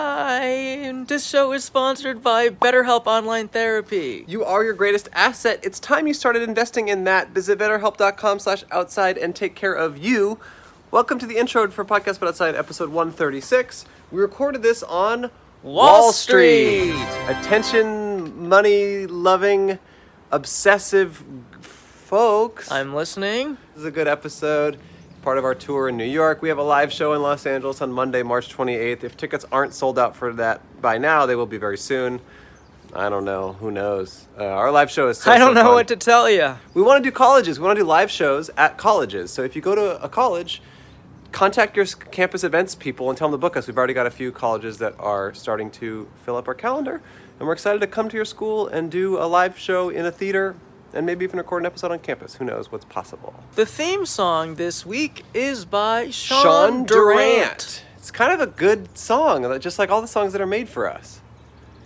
Hi, this show is sponsored by BetterHelp Online Therapy. You are your greatest asset. It's time you started investing in that. Visit betterhelp.com slash outside and take care of you. Welcome to the intro for Podcast But Outside, episode 136. We recorded this on Wall Street. Attention, money loving, obsessive folks. I'm listening. This is a good episode. Part of our tour in New York. We have a live show in Los Angeles on Monday, March 28th. If tickets aren't sold out for that by now, they will be very soon. I don't know. Who knows? Uh, our live show is. So, I don't so know fun. what to tell you. We want to do colleges. We want to do live shows at colleges. So if you go to a college, contact your s- campus events people and tell them to book us. We've already got a few colleges that are starting to fill up our calendar, and we're excited to come to your school and do a live show in a theater, and maybe even record an episode on campus. Who knows what's possible? The theme song this week is by Sean, Sean Durant. Durant. It's kind of a good song, just like all the songs that are made for us.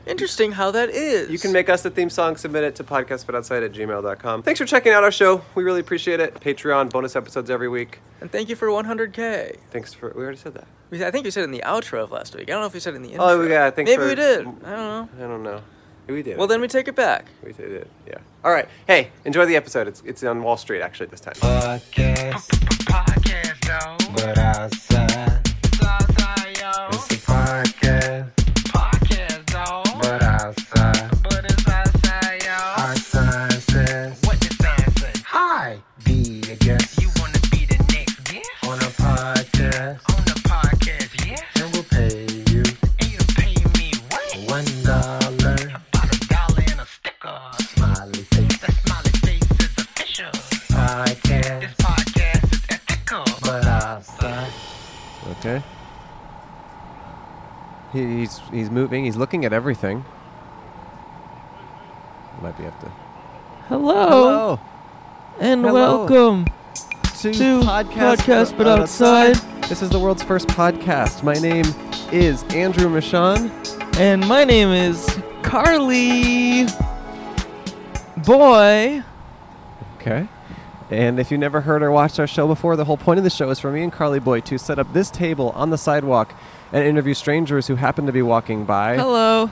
Interesting how that is. You can make us the theme song, submit it to podcastbutoutside at gmail.com. Thanks for checking out our show. We really appreciate it. Patreon, bonus episodes every week. And thank you for 100K. Thanks for, we already said that. We- I think we said it in the outro of last week. I don't know if we said it in the intro. Oh, yeah, thanks Maybe for- we did. I don't know. I don't know. We did. Well, it. then we take it back. we did it. Yeah. All right. Hey, enjoy the episode. It's, it's on Wall Street, actually, this time. podcast, podcast though. but outside. It's outside, yo. It's a podcast, Podcast though. but outside. But it's outside, yo. Our sign says, What the sign say? Hi, be a guest You wanna be the next guest on a podcast, on the podcast, yeah? and we'll pay you And you pay me what? one dollar. About a dollar and a sticker. Smiley face That smiley face is official. This podcast, podcast is ethical. but outside. Okay. He, he's he's moving. He's looking at everything. Might be up to. Hello, and Hello. welcome. to, To podcast, Podcast But This is the world's first podcast. My name is Andrew Michon. And my name is Carly Boy. Okay. And if you never heard or watched our show before, the whole point of the show is for me and Carly Boy to set up this table on the sidewalk and interview strangers who happen to be walking by. Hello.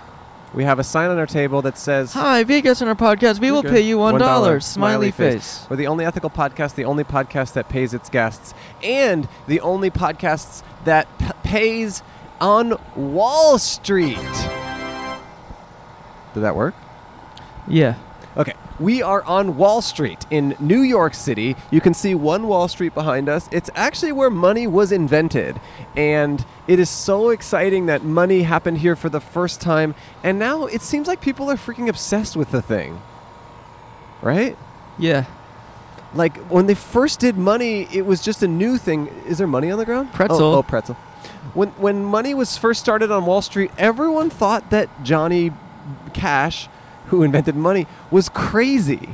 We have a sign on our table that says Hi, be a guest on our podcast. We will Good. pay you $1. Smiley, face. We're the only ethical podcast, the only podcast that pays its guests, and the only podcasts that p- pays on Wall Street. Did that work? Yeah. Okay, we are on Wall Street in New York City. You can see one Wall Street behind us. It's actually where money was invented. And it is so exciting that money happened here for the first time. And now it seems like people are freaking obsessed with the thing. Right? Yeah. Like when they first did money, it was just a new thing. Is there money on the ground? Pretzel. Oh, oh, pretzel. When when money was first started on Wall Street, everyone thought that Johnny Cash, who invented money, was crazy.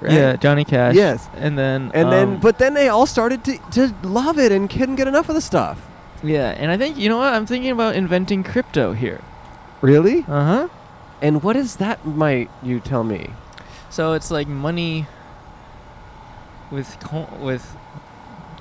Right? Yeah, Johnny Cash. Yes. And then. And um, then, but then they all started to, to love it and couldn't get enough of the stuff. Yeah, and I think, you know what? I'm thinking about inventing crypto here. Really? Uh huh. And what is that? Might you tell me? So it's like money with co- with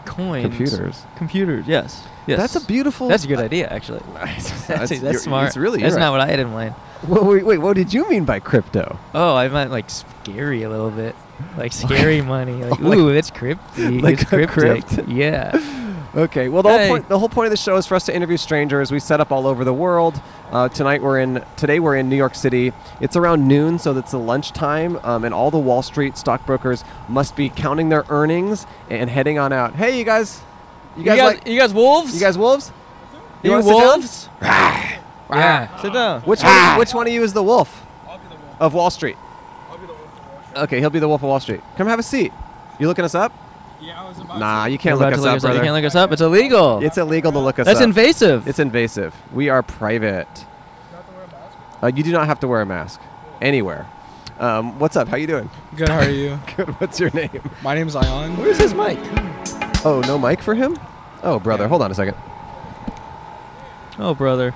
coins. Computers. Computers, yes. Yes. That's a beautiful. That's a good idea, actually. That's, That's, you're- that's smart. It's really. that's you're not right. what I had in mind. Wha- wait, wait, what did you mean by crypto? Oh, I meant like scary a little bit, like scary money. Like Oh, like- ooh, it's cryptic. Like it's a cryptic. crypt. Yeah. Okay. Well, the whole, Hey. point, the whole point of the show is for us to interview strangers. We set up all over the world. Uh, tonight we're in. Today we're in New York City. It's around noon, so that's the lunchtime, um, and all the Wall Street stockbrokers must be counting their earnings and heading on out. Hey, you guys. You guys, like, you guys wolves? you guys wolves? you, wanna sit down? wolves? yeah. Sit down. Which one, which one of you is the wolf? Of Wall Street. Okay, he'll be the wolf of Wall Street. Come have a seat. You looking us up? Yeah, I was about Nah, to. you can't You're look about us to up, You brother. can't look us up. It's illegal. It's illegal to look us that's up. invasive. It's invasive. We are private. Uh, you do not have to wear a mask anywhere. Um, what's up? How you doing? Good, how are you? Good. What's your name? My name's Ion. Where's his mic? Oh, no mic for him? Oh, brother. Hold on a second. Oh, brother.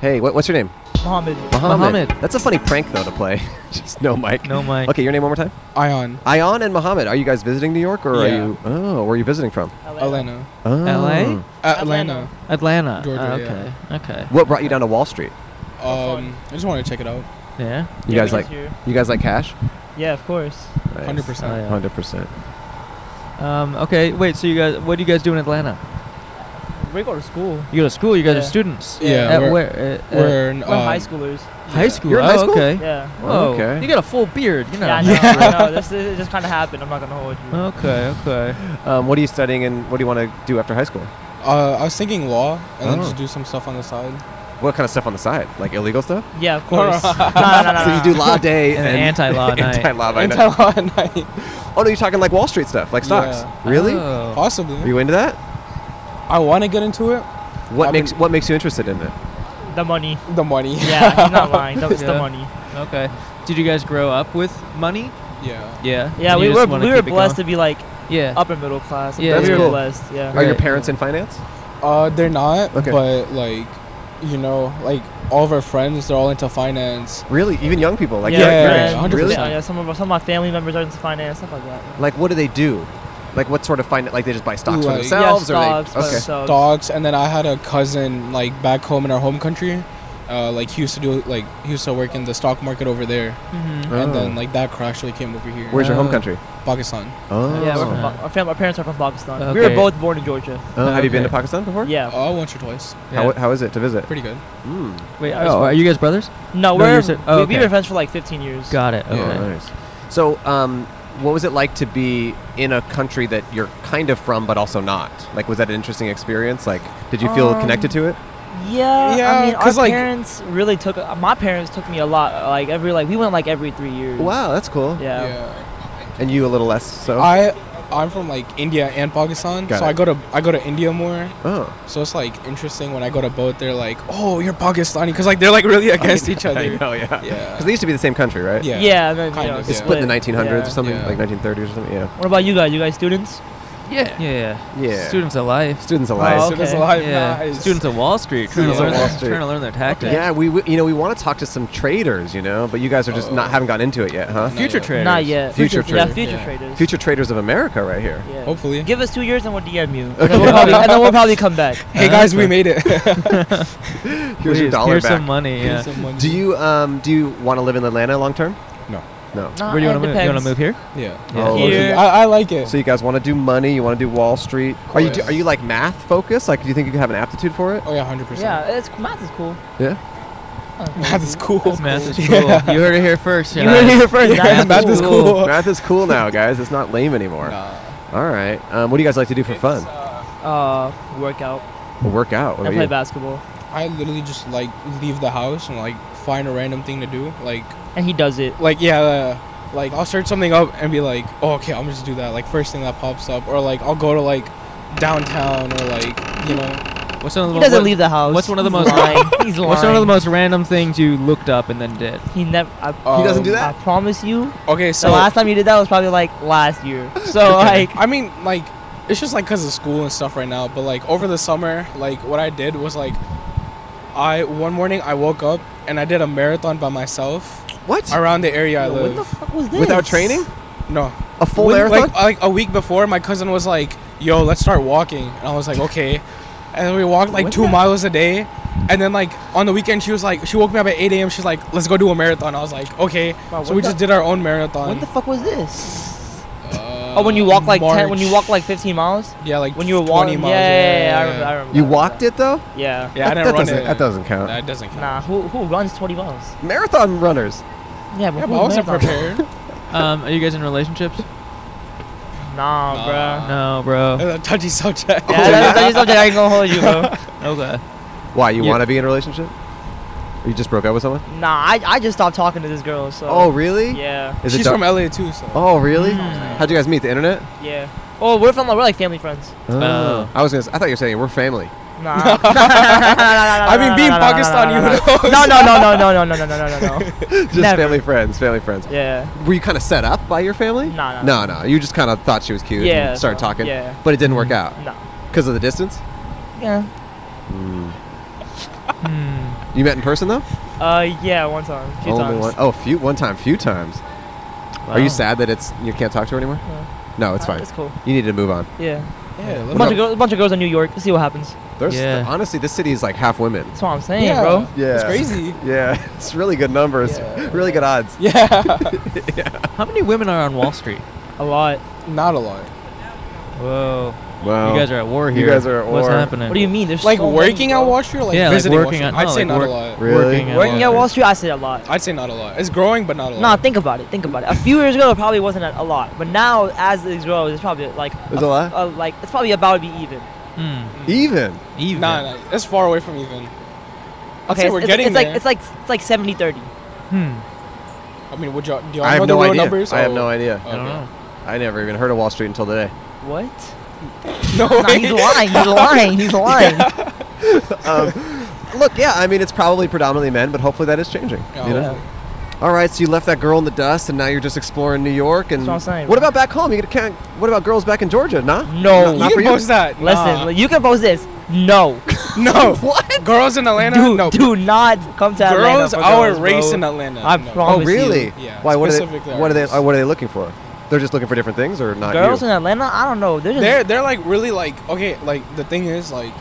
Hey, what, what's your name? Mohammed. Muhammad. That's a funny prank though to play. Just no mic. No mic. Okay, your name one more time. Ion. Ion and Muhammad. Are you guys visiting New York or Yeah. are you? Oh, where are you visiting from? Elena. Oh. L.A. Uh, Atlanta. Atlanta. Georgia, Ah, okay. Okay. What brought you down to Wall Street? Um, I just wanted to check it out. Yeah. You guys like? You guys like cash? Yeah, of course. Hundred percent. Oh, yeah. Hundred percent. Um, okay. Wait. So you guys, what do you guys do in Atlanta? We go to school. You go to school. You guys are Yeah. students. Yeah, At we're- where? uh, uh, We're in We're um, high schoolers. High school. You're in high Oh, school? Okay. Yeah. Whoa. Okay. You got a full beard. You know. Yeah, I know. I know. This, this just kind of happened. I'm not gonna hold you. Okay. Okay. Um, what are you studying and what do you want to do after high school? Uh, I was thinking law, and then Oh. just do some stuff on the side. What kind of stuff on the side? Like illegal stuff? Yeah, of course. no, no, no, no, So you no. do law day and, And then anti-law night. Anti-law night. Until at night, oh no, you're talking like Wall Street stuff, like stocks. Yeah. Really? Oh. Are possibly. you into that? I want to get into it. What I've makes been- What makes you interested in it? The money. The money. Yeah, he's not lying. That was Yeah. the money. Okay. Did you guys grow up with money? Yeah. Yeah. Yeah, And we you were just wanna we were keep it going? blessed to be like Yeah. upper middle class. Yeah, we That's were cool. blessed. Yeah. Are your Right. parents in finance? Uh, they're not, Okay. but like, you know, like all of our friends, they're all into finance. Really? Even young people? Like Yeah, your- yeah, your yeah, age? 100%. Really? Yeah, yeah, some of our- some of my family members are into finance stuff like that. Like what do they do? Like what sort of finance? Like they just buy stocks for Like- Yeah, themselves, stocks, or by they? Okay. themselves. Dogs, and then I had a cousin like back home in our home country. Uh, like he used to do like he used to work in the stock market over there, Mm-hmm. Mhm. and Oh. then like that crash really came over here. Where's your home Oh. country? Pakistan? Oh. Yeah, we're from, Oh. Pa- our, fam- our parents are from Pakistan. We Okay. were both born in Georgia. Oh, have you been to Okay. Pakistan before? Yeah. Oh, once or twice. Yeah. How, how is it to visit? Pretty good. Mm. Wait. I was Oh, are you guys brothers? No, No, we're you're so- oh, we, have okay. been friends for like 15 years. Got it. Okay. Yeah, nice. So, um, what was it like to be in a country that you're kind of from but also not? Like, was that an interesting experience? Like, did you feel Um, connected to it? Yeah, Yeah, I mean, our 'cause, like- parents really took. uh, My parents took me a lot. uh, Like every like we went like every three years. Wow, that's cool. Yeah. And you a little less so. I I'm from like India and Pakistan, Oh. Got so it. I go to I go to India more. oh, So it's like interesting when I go to both. They're like, "Oh, you're Pakistani," because like they're like really against each other. I know, yeah. Yeah. Because they used to be the same country, right? Yeah. Yeah. and then, Kind you know, of, It's yeah. split in the 1900s or Yeah. something, Yeah. like 1930s or something. Yeah. What about you guys? You guys students? Yeah. Yeah. Yeah. Students alive. Students alive. Oh, So that's okay. alive, yeah. nice. Students of Wall Street trying to Students of learn Wall their, Street. trying to learn their tactics. Yeah, we, we you know we want to talk to some traders, you know, but you guys are just not Oh. haven't gotten into it yet, huh? Not Future yet. traders. Not yet. Future yeah, traders. future Yeah. traders. Future traders of America, right here. Oh. Yeah. Hopefully. Give us two years and we'll DM you. And then we'll probably, and then we'll probably come back. Hey guys, we made it. Here's your Please, dollar here's back. some money. Yeah. Do you um do you want to live in Atlanta long term? No. No. Where do you Uh, want to move? You depends. want to move here? Yeah. Yeah. Oh, Here. okay. I, I like it. So you guys want to do money? You want to do Wall Street? Are you do, course. are you like math focused? Like, do you think you have an aptitude for it? oh yeah, hundred percent. Yeah, it's math is cool. Yeah. Math is cool. That's math is cool. You heard it here first. You heard it here first. Yeah, math is cool. math is cool now, guys. It's not lame anymore. All right. Um, what do you guys like to do for fun? Uh, workout Well, work out. What and about play you? basketball, I literally just like leave the house and like find a random thing to do. Like and he does it. like yeah, uh, like I'll search something up and be like, oh okay, I'm just do that. Like first thing that pops up, or like I'll go to like downtown or like you know. What's one of the He mo- doesn't what- leave the house. what's one of the He's most- lying. He's lying. What's one of the most random things you looked up and then did? He never. I, He doesn't do that? I promise you. Okay, The so last time you did that was probably like last year. So like, I mean, like, it's just like because of school and stuff right now. But like over the summer, like what I did was like, I one morning I woke up and I did a marathon by myself What? around the area I what the live. fuck was this? Without training? No, A full When- marathon? Like, like a week before, my cousin was like, "Yo, let's start walking," and I was like, "Okay." And then we walked like What two the- miles a day. And then like on the weekend, she was like, she woke me up at 8 a.m. She's like, "Let's go do a marathon." I was like, "Okay." Wow, so what we the- just did our own marathon. What the fuck was this? Uh, Oh, when you walk like ten, when you March. walk like fifteen miles, yeah, like when you were 20 walking, miles, yeah, yeah, yeah, I remember, I remember. you walked it though? Yeah. Yeah, that, I didn't that run doesn't, it. That doesn't count. That doesn't count. Nah, who who runs twenty miles? Marathon runners. Yeah, but, who Yeah, but I wasn't marathons? prepared. Um, are you guys in relationships? Nah, Nah. bruh. No, bro. That's a touchy subject. Yeah, that, that's something I ain't gonna hold you, bro. Okay. Why? You Yeah. want to be in a relationship? Or you just broke up with someone? Nah, I, I just stopped talking to this girl, so. oh, really? Yeah, Is She's it from dark- LA too, so. Oh, really? Hmm. How'd you guys meet? The internet? yeah. Oh, we're from like, we're like family friends. Uh. Oh. I was gonna. s- I thought you were saying we're family. Nah. I I mean, being Pakistani, who No, no, no, no, no, no, no, no, no, no, no, no. Just Never. family friends. Family friends. Yeah. Were you kind of set up by your family? Nah, No, nah. no. You just kind of thought she was cute Yeah, and started so- talking. yeah. But it didn't work out No. because of the distance. Yeah. Mm. Hmm. You met in person though. Uh, yeah, one time, a few Only times. one. Oh, few. One time. Few times. Wow. Are you sad that it's you can't talk to her anymore? No, it's Uh, fine. It's cool. You need to move on. Yeah, a Yeah, let bunch me- of girls, a bunch of girls in New York. See what happens. There's Yeah. honestly, this city is like half women. That's what I'm saying, Yeah. bro. Yeah. It's crazy. Yeah, it's really good numbers. Yeah. Really good odds. Yeah, How many women are on Wall Street? A lot. not a lot. Whoa. Wow. You guys are at war You here. guys are at What's war. happening? What do you mean? There's Like so many, working at bro. Wall Street, or like Yeah, like visiting Wall working Street? at- I'd no, say like not work- a lot. Really? Working at Working at Wall Street, I say a lot. I'd say not a lot. It's growing, but not a lot. Nah, think about it. Think about it. A few years ago, it probably wasn't a a lot, but now, as it grows, it's probably like There's a lot? uh, like it's probably about to be even. Hmm. Even. Even. Nah, nah, it's far away from even. I'd say it's, we're it's, getting it's there. like it's like it's like 70 30 Hmm. I mean, would y'all, do y'all I have know the no real idea. numbers? I have Oh. no idea. I don't Okay. know. I never even heard of Wall Street until today. what No, nah, he's way. lying he's lying he's lying Um, Um, Look, yeah, I mean, it's probably predominantly men, but hopefully that is changing. Oh, Yeah, you know? hopefully. All right, so you left that girl in the dust, and now you're just exploring New York. And That's what I'm saying, what bro. about back home? You can't. What about girls back in Georgia? Nah. no Not You for can you. post that. listen Nah. like, you can post this no no. what? Girls in Atlanta? do, no. do not come to Atlanta girls for our girls, race bro. in Atlanta. I no. promise. Oh, really? you. Yeah, Why? What are they? specifically What are they? ours. uh, What are they looking for? They're just looking for different things, or not? girls you? in atlanta i don't know they're just They're they're like really like okay like the thing is like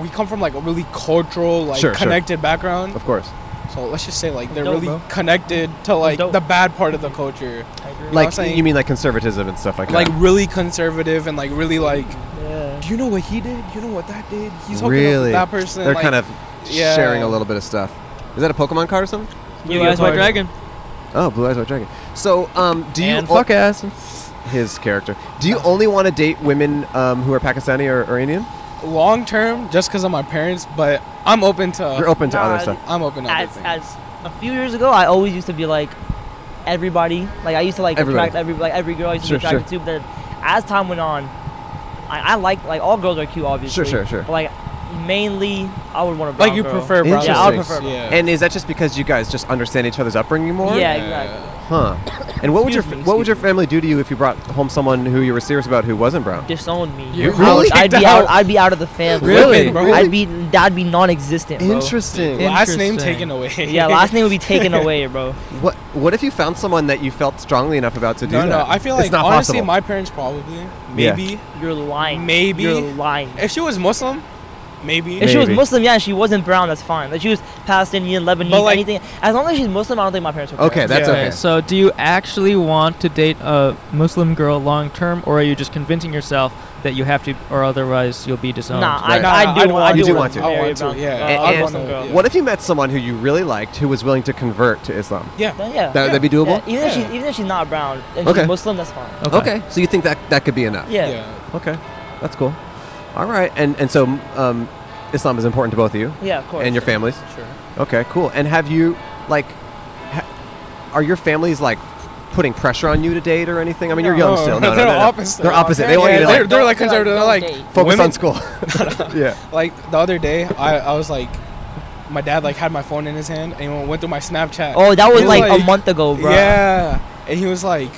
we come from like a really cultural like Sure, sure. connected background. of course. So let's just say like they're Dope, really bro. connected to like Dope. the bad part of the culture. like I'm saying? you mean like conservatism and stuff like, uh, Like that. really conservative and like really like yeah. do you know what he did? You know what that did? He's hooking up really. with that person. They're like, kind of yeah. sharing a little bit of stuff. Is that a Pokemon card or something? Blue Eyes White Dragon. Oh, Blue Eyes White Dragon. So, um, do you And fuck ass? His character. Do you only want to date women um, who are Pakistani or, or Indian? long term just because of my parents, but I'm open to You're open to nah, other I- stuff. I'm open to other as things. as a few years ago i always used to be like everybody like i used to like Everybody. attract every like every girl i used to Sure, be attracted to but then as time went on I, I like like all girls are cute obviously sure, sure. but, like mainly i would want to like you prefer brown Interesting. Yeah, I would girls. prefer- Yeah. And is that just because you guys just understand each other's upbringing more? yeah exactly Huh. And what would your Excuse me, what would your excuse family do to you if you brought home someone who you were serious about who wasn't brown? disowned me You I really would- i'd kicked be out. out- i'd be out of the family Really? Bro. i'd be that'd be non-existent bro. Interesting. Yeah. Last name Interesting. taken away. yeah last name would be taken away bro What what if you found someone that you felt strongly enough about to do No, that? no. I feel like it's not honestly, possible. my parents probably Yeah. maybe. you're lying Maybe. you're lying If she was Muslim, maybe. If she was Maybe. Muslim, yeah, and she wasn't brown, that's fine. If she was Palestinian, Lebanese, But, like- anything, as long as she's Muslim, I don't think my parents would. care. Okay, that's Yeah. okay. So, do you actually want to date a Muslim girl long term, or are you just convincing yourself that you have to, or otherwise you'll be disowned? Nah, Right. I, I, Nah, do, I'd wa- want- I you do wanna want to. I marry want a to, brown- yeah. uh, And- a and- Muslim girl. Yeah. What if you met someone who you really liked who was willing to convert to Islam? yeah. Then, yeah. That would that be doable? Yeah, even, if she's, Yeah. even if she's not brown and Okay. she's Muslim, that's fine. Okay. So you think that that could be enough? Yeah. yeah. Yeah. Okay. That's cool. All right. And and so um, Islam is important to both of you of course. and your families. Sure. Okay. Cool. And have you like ha- are your families like putting pressure on you to date or anything? I mean, you're young No, still. No, no, they're no, no. opposite. They're opposite. They want you Yeah, to they're, like they're like Don't- conservative. They're don't like date. focus on women- school. yeah. Like the other day, I, I was like, my dad like had my phone in his hand and he went through my Snapchat. Oh, that was He's like, like- a month ago, bro. Yeah, and he was like,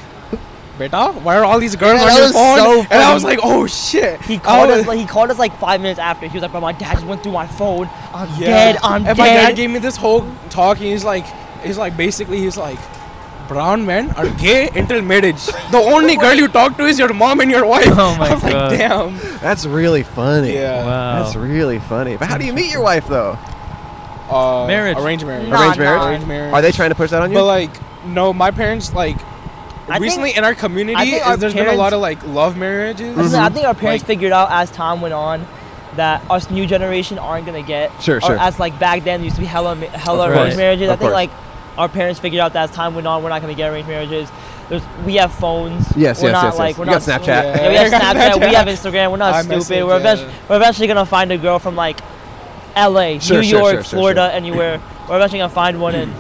"Beta, why are all these girls Yeah, on that your was phone?" so and I funny. was like, "Oh shit!" He I called was- us. Like, he called us like five minutes after. He was like, "Bro, my dad just went through my phone. I'm Yeah. dead. I'm and dead." my dad gave me this whole talk, and he's like, he's like, basically, he's like, brown men are gay until marriage. The only girl you talk to is your mom and your wife. Oh my I'm God. like, damn. That's really funny. Yeah. Wow. That's really funny. But how do you meet your wife though? Uh, Marriage. Arranged marriage. Nah, Arranged marriage? nah. Arranged marriage. Are they trying to push that on you? But like, no, my parents like. I recently think- in our community, I think our is- there's been a parents- lot of like love marriages. I Mm-hmm. think- I think our parents Like- figured out as time went on that us new generation aren't gonna get. Sure, or sure. As like back then, used to be hella ma- hella Of arranged course. marriages. I Of think course. like our parents figured out that as time went on, we're not gonna get arranged marriages. There's, we have phones. Yes, we're yes, not, yes, Like, yes. We're You not got Snapchat. Yeah, we have I got Snapchat. We Snapchat. have Instagram. We're not I stupid. message, we're, yeah. eventually, we're eventually gonna find a girl from like L.A., Sure, New sure, York, sure, sure, Florida, sure. anywhere. We're eventually gonna find one and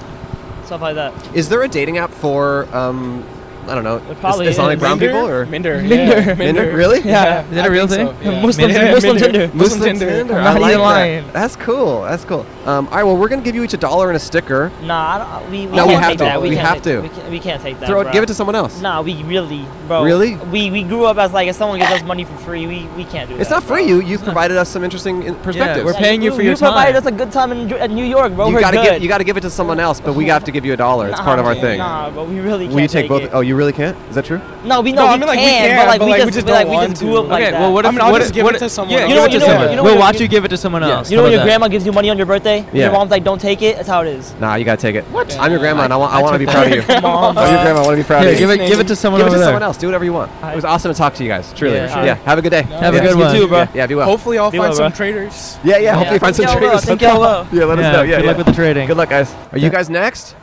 stuff like that. Is there a dating app for um, I don't know, It probably is- Islamic is. brown people or Minder? Minder. yeah, Minder? Really? Yeah. Is that a a real thing? Muslims, Minder. Muslims Minder. under. Muslim Muslim Tinder. Tinder. I'm I not like even that. lying. That's cool. That's cool. Um, all right, well, we're gonna give you each a dollar and a sticker. Nah, I don't, we, we No, can't we have take to. that. We, We can't have take- to. We can't, we can't take that. Throw bro. it. Give it to someone else. Nah, we really, bro. Really? We we grew up as like if someone gives us money for free, we, we can't do that. It's not bro. free. You you provided us some interesting in- perspectives. we're Like, paying you for your provided time. us a good time in, in New York, bro. you We're gotta good. give you gotta give it to someone else, but we have to give you a dollar. It's Nah, part of our man, thing. Nah, but we really can't. Will you take both? It. Oh, you really can't? Is that true? No, we know No, I we, mean, like, we can, can, but like but, we like, we just, just we, like, don't we want just to. grew up like okay, that. well, what I if mean, I'll what just if- give what it to if- someone Yeah, else. give You know- it to you know- someone. you know we'll what- watch you give it to someone else. you know How when your about that? grandma gives you money on your birthday? and Yeah. Your mom's like, "Don't take it." That's how it is. Nah, you gotta take it. What? I'm your grandma, and I want I, I want to took be that. proud of you. Come on, I'm your bro. grandma. I want to be proud Here, of you. give it give it to someone Give it over to there. someone else. Do whatever you want. It was awesome to talk to you guys. Truly. Yeah. Yeah. Have a good day. Have yeah. a good You one. too, bro. Yeah. Yeah. Be well. Hopefully, I'll Be find well, some bro. traders. Yeah. Yeah. Hopefully, you find some Think y'all will, traders. Think y'all will. Yeah. Let us Yeah, know. Yeah. good yeah. luck with the trading. Good luck, guys. Are you guys next?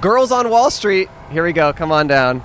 Girls on Wall Street. Here we go. Come on down.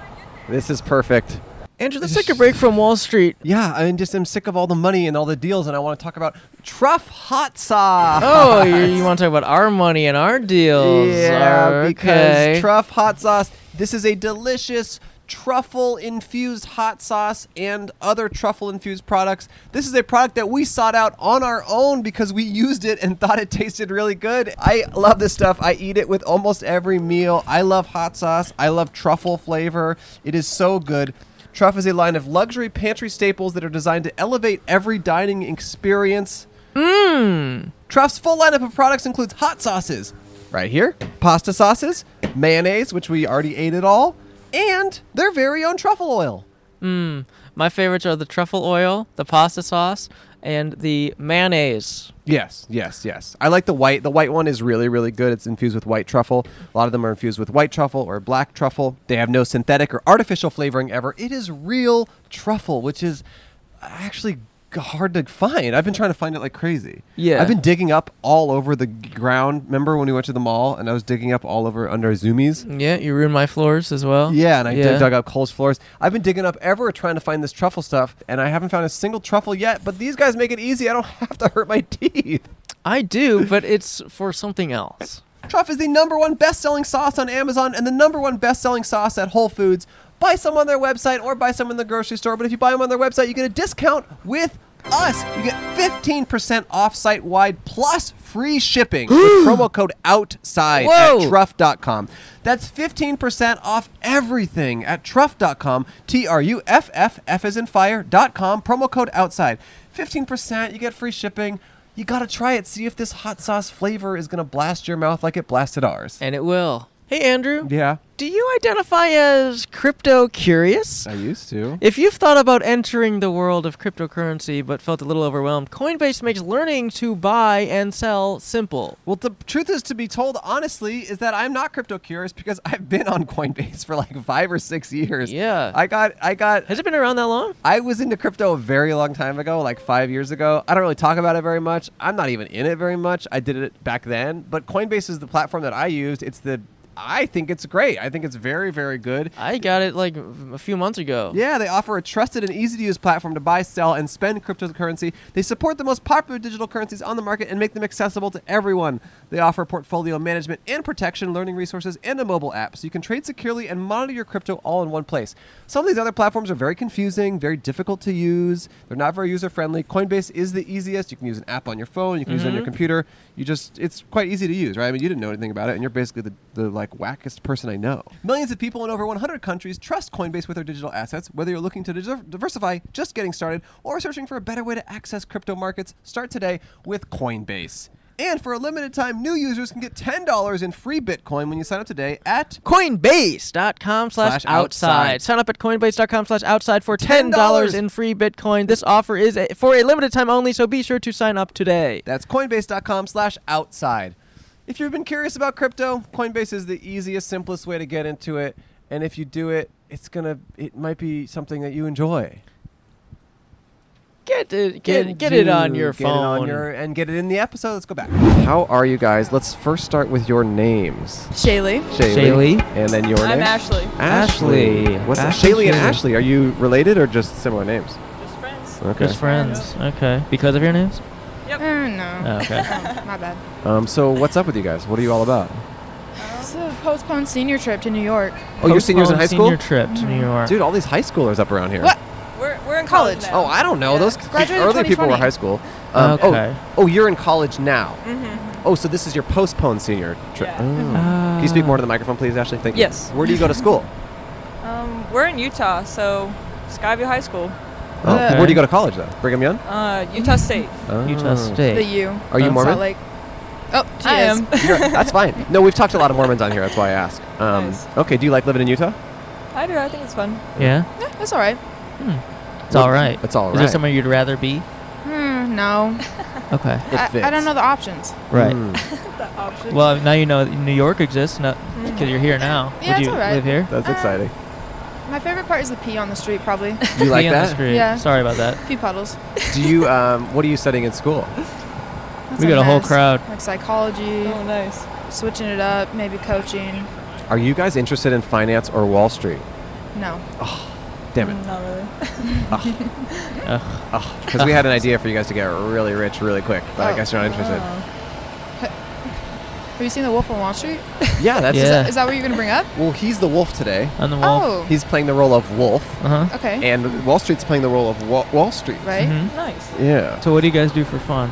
This is perfect. Andrew, let's take a break from Wall Street. Yeah, I mean, just I'm sick of all the money and all the deals, and I want to talk about truff hot sauce. Oh, you, you want to talk about our money and our deals? Yeah, Are- because okay. truff hot sauce. This is a delicious truffle infused hot sauce and other truffle infused products. This is a product that we sought out on our own because we used it and thought it tasted really good. I love this stuff. I eat it with almost every meal. I love hot sauce. I love truffle flavor. It is so good. Truff is a line of luxury pantry staples that are designed to elevate every dining experience. Truff's full lineup of products includes hot sauces, right here, pasta sauces, mayonnaise, which we already ate it all, and their very own truffle oil. Hmm, My favorites are the truffle oil, the pasta sauce, and the mayonnaise. Yes, yes, yes. I like the white. The white one is really, really good. It's infused with white truffle. A lot of them are infused with white truffle or black truffle. They have no synthetic or artificial flavoring ever. It is real truffle, which is actually g- hard to find. I've been trying to find it like crazy. Yeah. I've been digging up all over the g- ground. Remember when we went to the mall and I was digging up all over under Zoomies? Yeah, you ruined my floors as well. Yeah, and I did dug up Cole's floors. I've been digging up ever trying to find this truffle stuff, and I haven't found a single truffle yet. But these guys make it easy. I don't have to hurt my teeth. I do, but it's for something else. Truff is the number one best-selling sauce on Amazon and the number one best-selling sauce at Whole Foods. Buy some on their website or buy some in the grocery store. But if you buy them on their website, you get a discount with us. You get 15% off site-wide plus free shipping with promo code OUTSIDE Whoa. at truff.com. That's 15% off everything at truff.com. T-R-U-F-F-F is in fire.com. Promo code OUTSIDE. 15%, you get free shipping. You gotta try it. See if this hot sauce flavor is gonna blast your mouth like it blasted ours. And it will. Hey, Andrew. Yeah, Do you identify as crypto curious? I used to. If you've thought about entering the world of cryptocurrency but felt a little overwhelmed, Coinbase makes learning to buy and sell simple. Well, the truth is, to be told honestly, is that I'm not crypto curious because I've been on Coinbase for like five or six years. Yeah. I got, I got, Has it been around that long? I was into crypto a very long time ago, like five years ago. I don't really talk about it very much. I'm not even in it very much. I did it back then, but Coinbase is the platform that I used. It's the, I think it's great. I think it's very, very good. I got it like a few months ago. Yeah, they offer a trusted and easy to use platform to buy, sell, and spend cryptocurrency. They support the most popular digital currencies on the market and make them accessible to everyone. They offer portfolio management and protection, learning resources, and a mobile app so you can trade securely and monitor your crypto all in one place. Some of these other platforms are very confusing, very difficult to use, they're not very user friendly. Coinbase is the easiest. You can use an app on your phone, you can use it on Mm-hmm. your computer. You just it's quite easy to use, right? I mean, you didn't know anything about it and you're basically the, the like wackest person I know. Millions of people in over 100 countries trust Coinbase with their digital assets. Whether you're looking to deserve- diversify, just getting started, or searching for a better way to access crypto markets, start today with Coinbase. And for a limited time, new users can get $10 in free Bitcoin when you sign up today at Coinbase.com slash Slash outside. outside. Sign up at coinbase.com slash outside for $10 $10 in free Bitcoin. This offer is a, for a limited time only, so be sure to sign up today. That's coinbase.com slash outside. If you've been curious about crypto, Coinbase is the easiest, simplest way to get into it. And if you do it, it's gonna it might be something that you enjoy. Get it, get, get it on you- your get it on phone. your- and get it in the episode. Let's go back. How are you guys? Let's first start with your names. Shaylee. Shaylee. Shaylee. And then your I'm name. Ashley. Ashley. Ashley. What's Ashley Shaylee and Shaylee. Ashley? Are you related or just similar names? Just friends. Okay. Just friends. Okay. Because of your names? Oh, no. Okay. My bad. Um, so what's up with you guys? What are you all about? It's a postponed senior trip to New York. Oh, your seniors in high Postponed school? Senior trip to New York. Dude, all these high schoolers up around here. What? We're, we're in college. College. now. Oh, I don't know. Yeah. Those Graduated early people were 2020. high school. Um, oh, Okay. Oh, you're in college now. Mm-hmm. Oh, so this is your postponed senior trip. Yeah. Oh. Can you speak more to the microphone, please, Ashley? Thank you. Yes. Where do you go to school? Um, we're in Utah, so Skyview High School, Oh, Okay. Where do you go to college, though? Brigham Young? uh, Utah State. Oh. Utah State. The U. Are you Um, Mormon? Salt Lake. Oh, she I is. am. You're- that's fine. No, we've talked to a lot of Mormons on here. That's why I asked. Um, Nice. Okay, do you like living in Utah? I do. I think it's fun. yeah, Yeah, that's all right. it's all right. It's all Is there right. somewhere you'd rather be? Hmm, no. Okay. It I, I fits. don't know the options. Right. Mm, Hmm. Well, now you know that New York exists because you're here Mm. now. Yeah, Would it's you all right. live here? that's Uh, exciting. My favorite part is the pee on the street, probably. You like Be on the that? street. Yeah. Sorry about that. Pee puddles. Do you? Um, what are you studying in school? That's We got a whole mess. crowd. Like psychology, Oh, nice. switching it up, maybe coaching. Are you guys interested in finance or Wall Street? No. Damn it. Mm, Not really. Ah. Oh, Because we had an idea for you guys to get really rich really quick, but I Oh. guess you're not interested. Have you seen The Wolf of Wall Street? Ah, Yeah, that's. Yeah. Is that what you're going to bring up? Well, he's the wolf today. On the wall. Oh. He's playing the role of wolf, Uh huh. Okay. and Wall Street's playing the role of Wa- Wall Street. right? Mhm. Mm-hmm. Nice. Yeah. So what do you guys do for fun?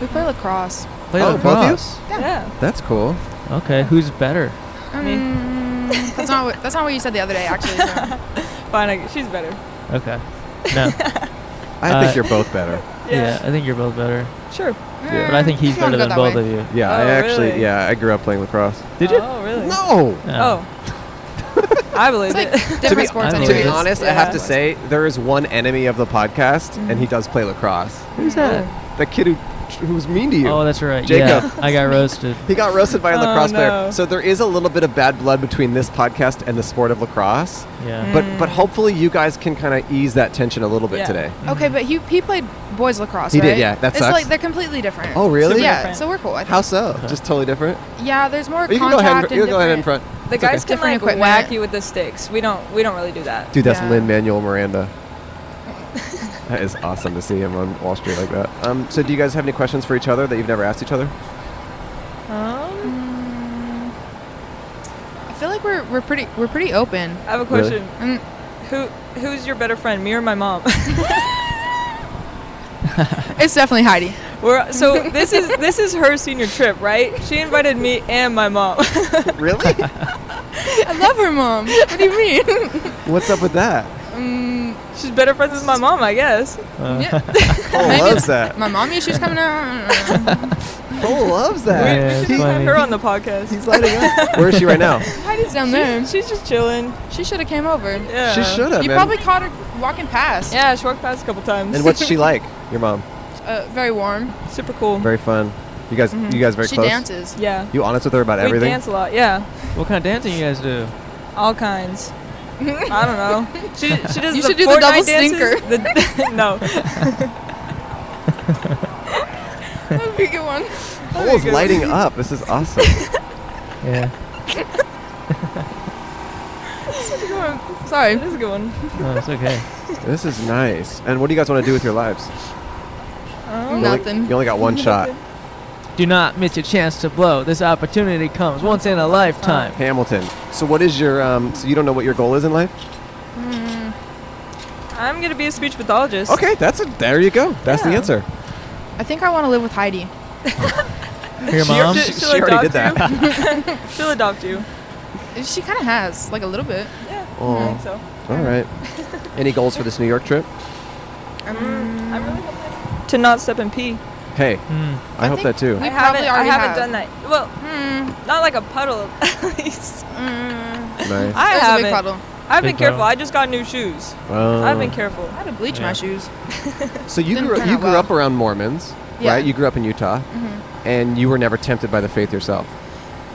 We play lacrosse. Play Oh, both of you? lacrosse. Yeah. Yeah. That's cool. Okay, who's better? Me. Mm, that's not what that's not what you said the other day, actually. so. Fine. I, she's better. Okay. No. I Uh, think you're both better. yeah, I think you're both better. Sure. But I think he's She don't better go than that both way. of you. Yeah, Oh, I actually. really? Yeah, I grew up playing lacrosse. Did you? Oh, really? No. Oh. I believe It's like it. different be- sports I anyways. believe To be Anyways, honest, I yeah. have to say there is one enemy of the podcast, and Mm. he does play lacrosse. Who's that? The kid who, who was mean to you. Oh, that's right. Jacob. Yeah, I got roasted. He got roasted by a Oh, lacrosse no. player. So there is a little bit of bad blood between this podcast and the sport of lacrosse. Yeah. But but hopefully you guys can kind of ease that tension a little bit Yeah. Mm-hmm. today. Okay, but he he played boys lacrosse. He did, right? yeah, that it's sucks. like they're completely different. Oh really? yeah. different. So we're cool. I think. How so? Just totally different. Yeah, there's more You can contact go ahead. And, and you can go ahead in different- front. The It's okay. guys can Different like equipment. whack you with the sticks. We don't. We don't really do that. Dude, that's Yeah. Lin Manuel Miranda. that is awesome to see him on Wall Street like that. Um, so do you guys have any questions for each other that you've never asked each other? Um, I feel like we're we're pretty we're pretty open. I have a Really? question. Mm, Who Who's your better friend? Me or my mom? it's definitely Heidi. We're, so this is this is her senior trip, right? She invited me and my mom. really? I love her mom. What do you mean? What's up with that? Um, She's better friends with my mom, I guess. Uh, Yeah. Cole Maybe Oh, loves that. My mom issues coming out. I don't know. Cole loves We, that. Yeah, we it's should have had funny. her on the podcast. He's lighting up. Where is she right now? Heidi's down there. She's just chilling. She should have came over. Yeah. she should have. You probably caught her walking past. Yeah, she walked past a couple times. And what's she like? Your mom. Uh, very warm. Super cool. Very fun. You guys. You guys very Mm-hmm. she close. dances. yeah. You honest with her about We everything. dance a lot. Yeah, what kind of dancing you guys do? all kinds. I don't know. She she does. You the should do the Fortnite dances, double the- no. That would be a good one. Oh Cole's lighting up. This is awesome. Yeah. Sorry. That is a good one. No, it's okay. this is nice. And what do you guys want to do with your lives? You only- Oh. Nothing. you only got one shot. Do not miss your chance to blow. This opportunity comes once in a Uh. lifetime. Hamilton. So what is your? Um, so you don't know what your goal is in life? Hmm. I'm gonna be a speech pathologist. Okay, that's a, there you go. That's the Yeah. answer. I think I want to live with Heidi. Your She- mom? She, She'll she already did adopt that. She'll adopt you. She kind of has, like a little bit. Yeah. I Oh, think so. all right. Any goals for this New York trip? Mm-hmm. I'm really hoping to not step in pee. Hey, Mm. I, hope think that too. We I probably haven't. I already haven't have. done that. Well, hmm, not like a puddle. At least Mm, Nice. I there's a haven't. big puddle. I've been Big careful. puddle. I just got new shoes. I've been careful. I had to bleach Yeah. my shoes. Oh. So you Didn't grew turn you out grew well. up around Mormons, Yeah. Mm-hmm. right? You grew up in Utah, and you were never tempted by the faith yourself.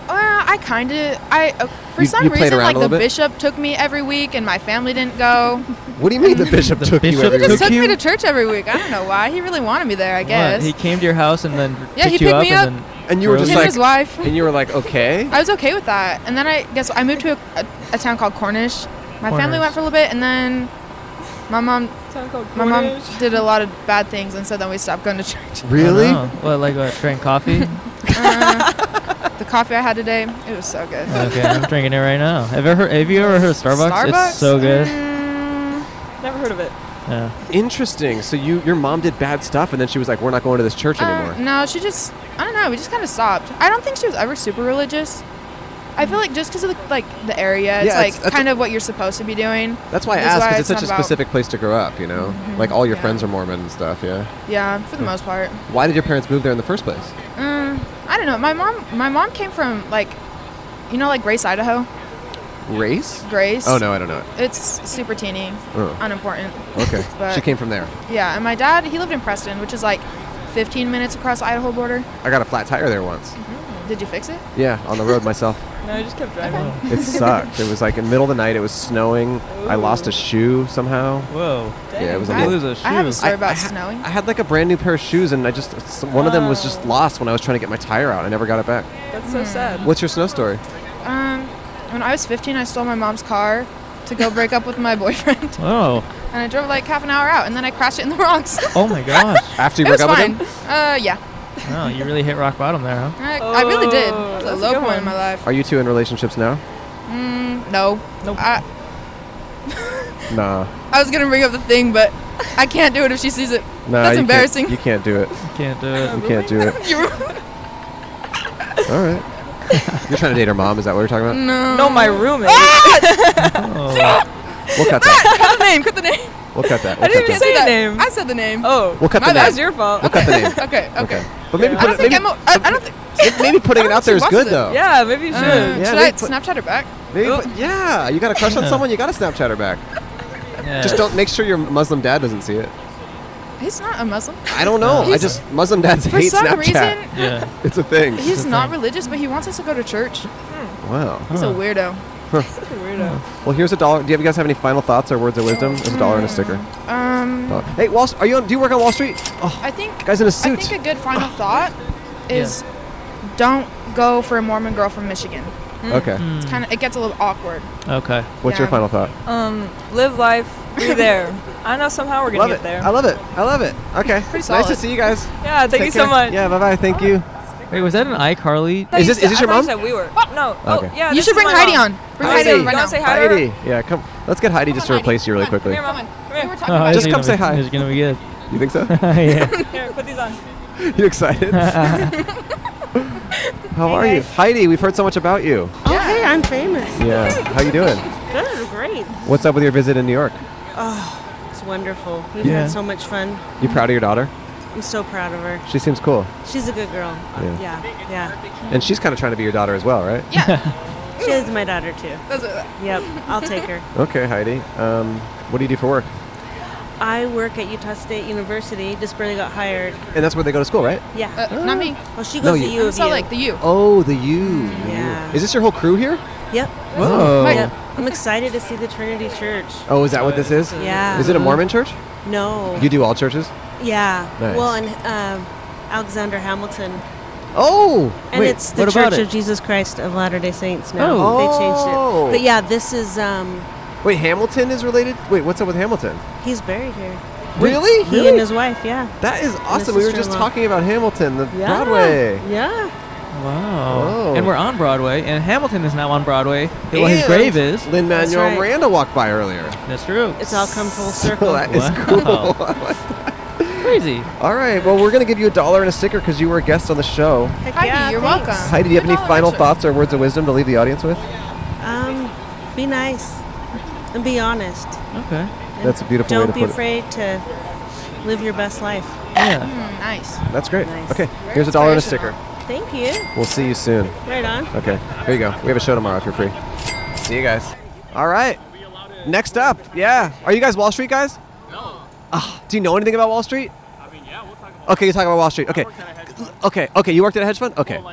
Uh, I kind of, I uh, for You- some you played reason, around like a the little bit? bishop took me every week, and my family didn't go. What do you mean the bishop The took bishop you he every just Took week? took me you? to church every week. I don't know why. He really wanted me there. I What? guess. He came to your house and then Yeah, he picked you picked up me and up. then And you were drove Him just and like- his wife. And you were like, okay. I was okay with that, and then I guess I moved to a, a, a town called Cornish. My family Cornish. went for a little bit, and then my mom, Sound called my mom Cornish. did a lot of bad things, and so then we stopped going to church. I don't Really? know. What, like what, drank coffee? Uh, the coffee I had today. It was so good. Okay, I'm drinking it right now. Have you ever have you ever heard of Starbucks? Starbucks? It's so good. Mm, Never heard of it. Yeah. Interesting. So you, your mom did bad stuff, and then she was like, "We're not going to this church uh, anymore." no, she just. I don't know. We just kind of stopped. I don't think she was ever super religious. I feel like just because of the, like the area, it's Yeah, like it's- that's- kind of what you're supposed to be doing. That's why I That's asked why because it's it's such a not about- Mm-hmm. specific place to grow up. You know, like all your yeah. friends are Mormon and stuff. Yeah. Yeah, for the most part. Why did your parents move there in the first place? Mm, I don't know. My mom, my mom came from like, you know, like Grace, Idaho. Race? Grace. Oh no, I don't know it. It's super teeny, Oh, unimportant. okay. But- she came from there. Yeah, and my dad, he lived in Preston, which is like 15 minutes across the Idaho border. I got a flat tire there once. Did you fix it? Yeah, on the road myself. Mm-hmm. No, I just kept driving. It sucked. it was like in the middle of the night. It was snowing. I lost a shoe somehow. Whoa. Yeah, it was a I- You little- lose a shoe. I have a story about ha- snowing. Oh. I had like a brand new pair of shoes, and I just s- one of them was just lost when I was trying to get my tire out. I never got it back. That's Hmm. so sad. What's your snow story? Um, when I was 15, I stole my mom's car to go break up with my boyfriend, oh. and I drove like half an hour out, and then I crashed it in the rocks. it Oh my gosh. After you was broke up fine. with him, Uh, yeah, no, you really hit rock bottom there, huh? I, I really did. It was Oh, a that's a low good point one. in my life. are you two in relationships now? Mm, no, Nope. I, Nah, I was gonna bring up the thing, but I can't do it if she sees it. nah. That's you can't- embarrassing. you can't do it. Can't do it. You can't do it. You- All right. You're trying to date her mom? Is that what we're talking about? no. Ah! No, my roommate. Oh. We'll cut that. Cut the name. Cut the name. We'll cut that. We'll I didn't cut that. even say That- name. I said the name. Oh, We'll cut the my name. bad. that's your fault. We'll cut the name. Okay. Okay. Okay. But maybe I put don't it, think maybe, Emma. I, I don't think. may- maybe putting it I out there don't is think she good wants it. though. Yeah, maybe you should. Uh, Yeah, should they I put- Snapchat her back? Maybe put- yeah. You got a crush on someone? You got to Snapchat her back. Yeah. Just don't make sure your Muslim dad doesn't see it. He's not a Muslim. I don't know. I He's- just Muslim dads For hate some Snapchat. reason, Yeah. It's a thing. Hmm. he's the not thing. religious, but he wants us to go to church. Wow. He's a Huh. weirdo. Such a weirdo. Well, here's a dollar. Do you guys have any final thoughts or words of wisdom? There's a dollar and a sticker. Um, Dollar. Hey, Wall, are you on? Do you work on Wall Street? Oh, I think. guys in a I suit. think a good final thought is, don't go for a Mormon girl from Michigan. okay. It's kind of it gets a little awkward. Okay. What's your Yeah. final thought? Um, live life, be there. I know somehow we're gonna love get it. there. I love it. I love it. Okay. nice to solid. see you guys. yeah, thank Take you so care. much. Yeah. Bye bye. Thank you. Wait, was that an iCarly? I thought Is you this- is said- this your I thought mom? you said we were. No. Okay. Oh, yeah. you this should is bring my Heidi mom. on. Bring Heidi, Heidi on right you now. wanna say hi to her? Heidi. Yeah. Come. Let's get Heidi just to Come on, replace Heidi. you really Come on. quickly. Here, mom. We were Come talking Oh, about it's Just it. come gonna say be- hi. It's gonna be good. You think so? yeah. here. Here, put these on. you excited? How are you, Heidi? We've heard so much about you. Oh, hey, I'm famous. Yeah. How you doing? Good, great. Oh, What's up with your visit in New York? It's wonderful. We've Yeah. had so much fun. You proud of your daughter? I'm so proud of her. She seems cool, She's a good girl. Yeah. Yeah, yeah. and she's kind of trying to be your daughter as well, right? She is my daughter too. That's what- Yep, I'll take her. Okay, Heidi. Um, what do you do for work? I work at Utah State University. Just barely got hired. And that's where they go to school, right? Yeah. Uh, not me. well, she no, goes you- to U I'm of so U. like the U. Oh, the U. Yeah. Is this your whole crew here? yep. Oh. Yep. I'm excited to see the Trinity Church. Oh, is that what this is? Yeah. Mm-hmm. Is it a Mormon church? No. You do all churches? yeah. Nice. Well, and um, Alexander Hamilton. Oh. And wait, it's the what Church about of it? Jesus Christ of Latter Day Saints now. Oh. They changed Oh. it. But yeah, this is um, Wait, Hamilton is related. Wait, what's up with Hamilton? he's buried here. Really? He and his wife. Yeah. that is awesome. We were just sister-in-law. talking about Hamilton, the Yeah. Broadway. Yeah. Wow. Whoa. And we're on Broadway, and Hamilton is now on Broadway. Well, his grave is. Lin Manuel right. Miranda walked by earlier. That's true. It's all come full Well, circle. that is Wow. cool. crazy. all right. Well, we're gonna give you a dollar and a sticker because you were a guest on the show. Heck Heidi, yeah, you're thanks. welcome. Heidi, do you have any Good final knowledge. thoughts or words of wisdom to leave the audience with? Um, be nice and be honest. Okay. That's a beautiful way Don't to be put it. afraid to live your best life. Yeah. Mm, nice. That's great. Nice. Okay, here's a dollar and a sticker. Thank you. We'll see you soon. Right on. Okay, here you go. We have a show tomorrow if you're free. See you guys. All right. Next up, yeah. Are you guys Wall Street guys? No. do you know anything about Wall Street? I mean, yeah, we'll talk about. Okay, you talk about Wall Street. Okay. Okay. Okay. You worked at a hedge fund. Okay.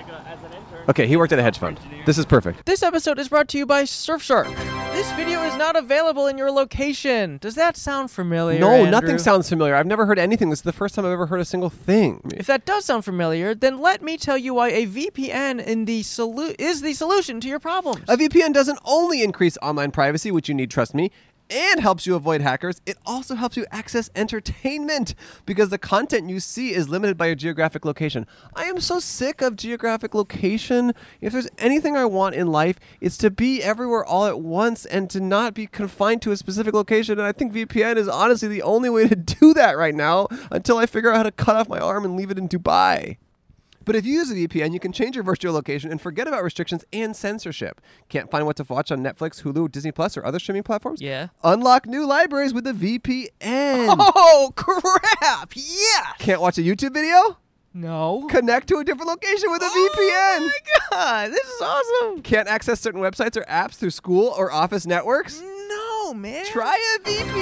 Okay. He worked at a hedge fund. This is perfect. This episode is brought to you by Surfshark. This video is not available in your location. Does that sound familiar? no, Andrew? nothing sounds familiar. I've never heard anything. This is the first time I've ever heard a single thing. If that does sound familiar, then let me tell you why a VPN in the solu- is the solution to your problems. A VPN doesn't only increase online privacy, which you need, trust me, and helps you avoid hackers, it also helps you access entertainment because the content you see is limited by your geographic location. I am so sick of geographic location. If there's anything I want in life, it's to be everywhere all at once and to not be confined to a specific location. And I think VPN is honestly the only way to do that right now until I figure out how to cut off my arm and leave it in Dubai. But if you use a VPN, you can change your virtual location and forget about restrictions and censorship. Can't find what to watch on Netflix, Hulu, Disney Plus, or other streaming platforms? Yeah. Unlock new libraries with a VPN. Oh, crap! Yeah. Can't watch a YouTube video? No. Connect to a different location with a VPN. Oh my god, this is awesome! Can't access certain websites or apps through school or office networks? No, man. Try a VPN.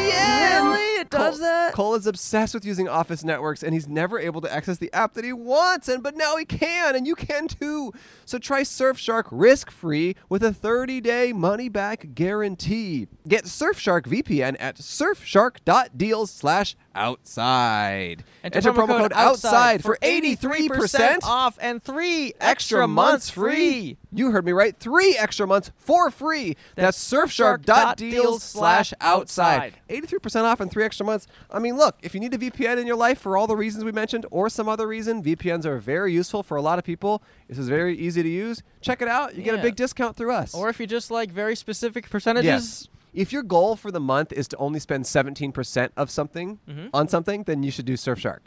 Really? It does Cole, that? Cole is obsessed with using office networks, and he's never able to access the app that he wants. And but now he can, and you can too. So try Surfshark risk-free with a 30-day money-back guarantee. Get Surfshark VPN at surfshark.deals/outside. Enter promo code outside for 83% off and three extra months free. You heard me right. Three extra months for free. That's, surfshark.deals slash outside. 83% off and three extra months. I mean, look, if you need a VPN in your life for all the reasons we mentioned or some other reason, VPNs are very useful for a lot of people. This is very easy to use. Check it out. You get a Yeah. big discount through us. Or if you just like very specific percentages. Yes. If your goal for the month is to only spend 17% of something Mhm. on something, then you should do Surfshark.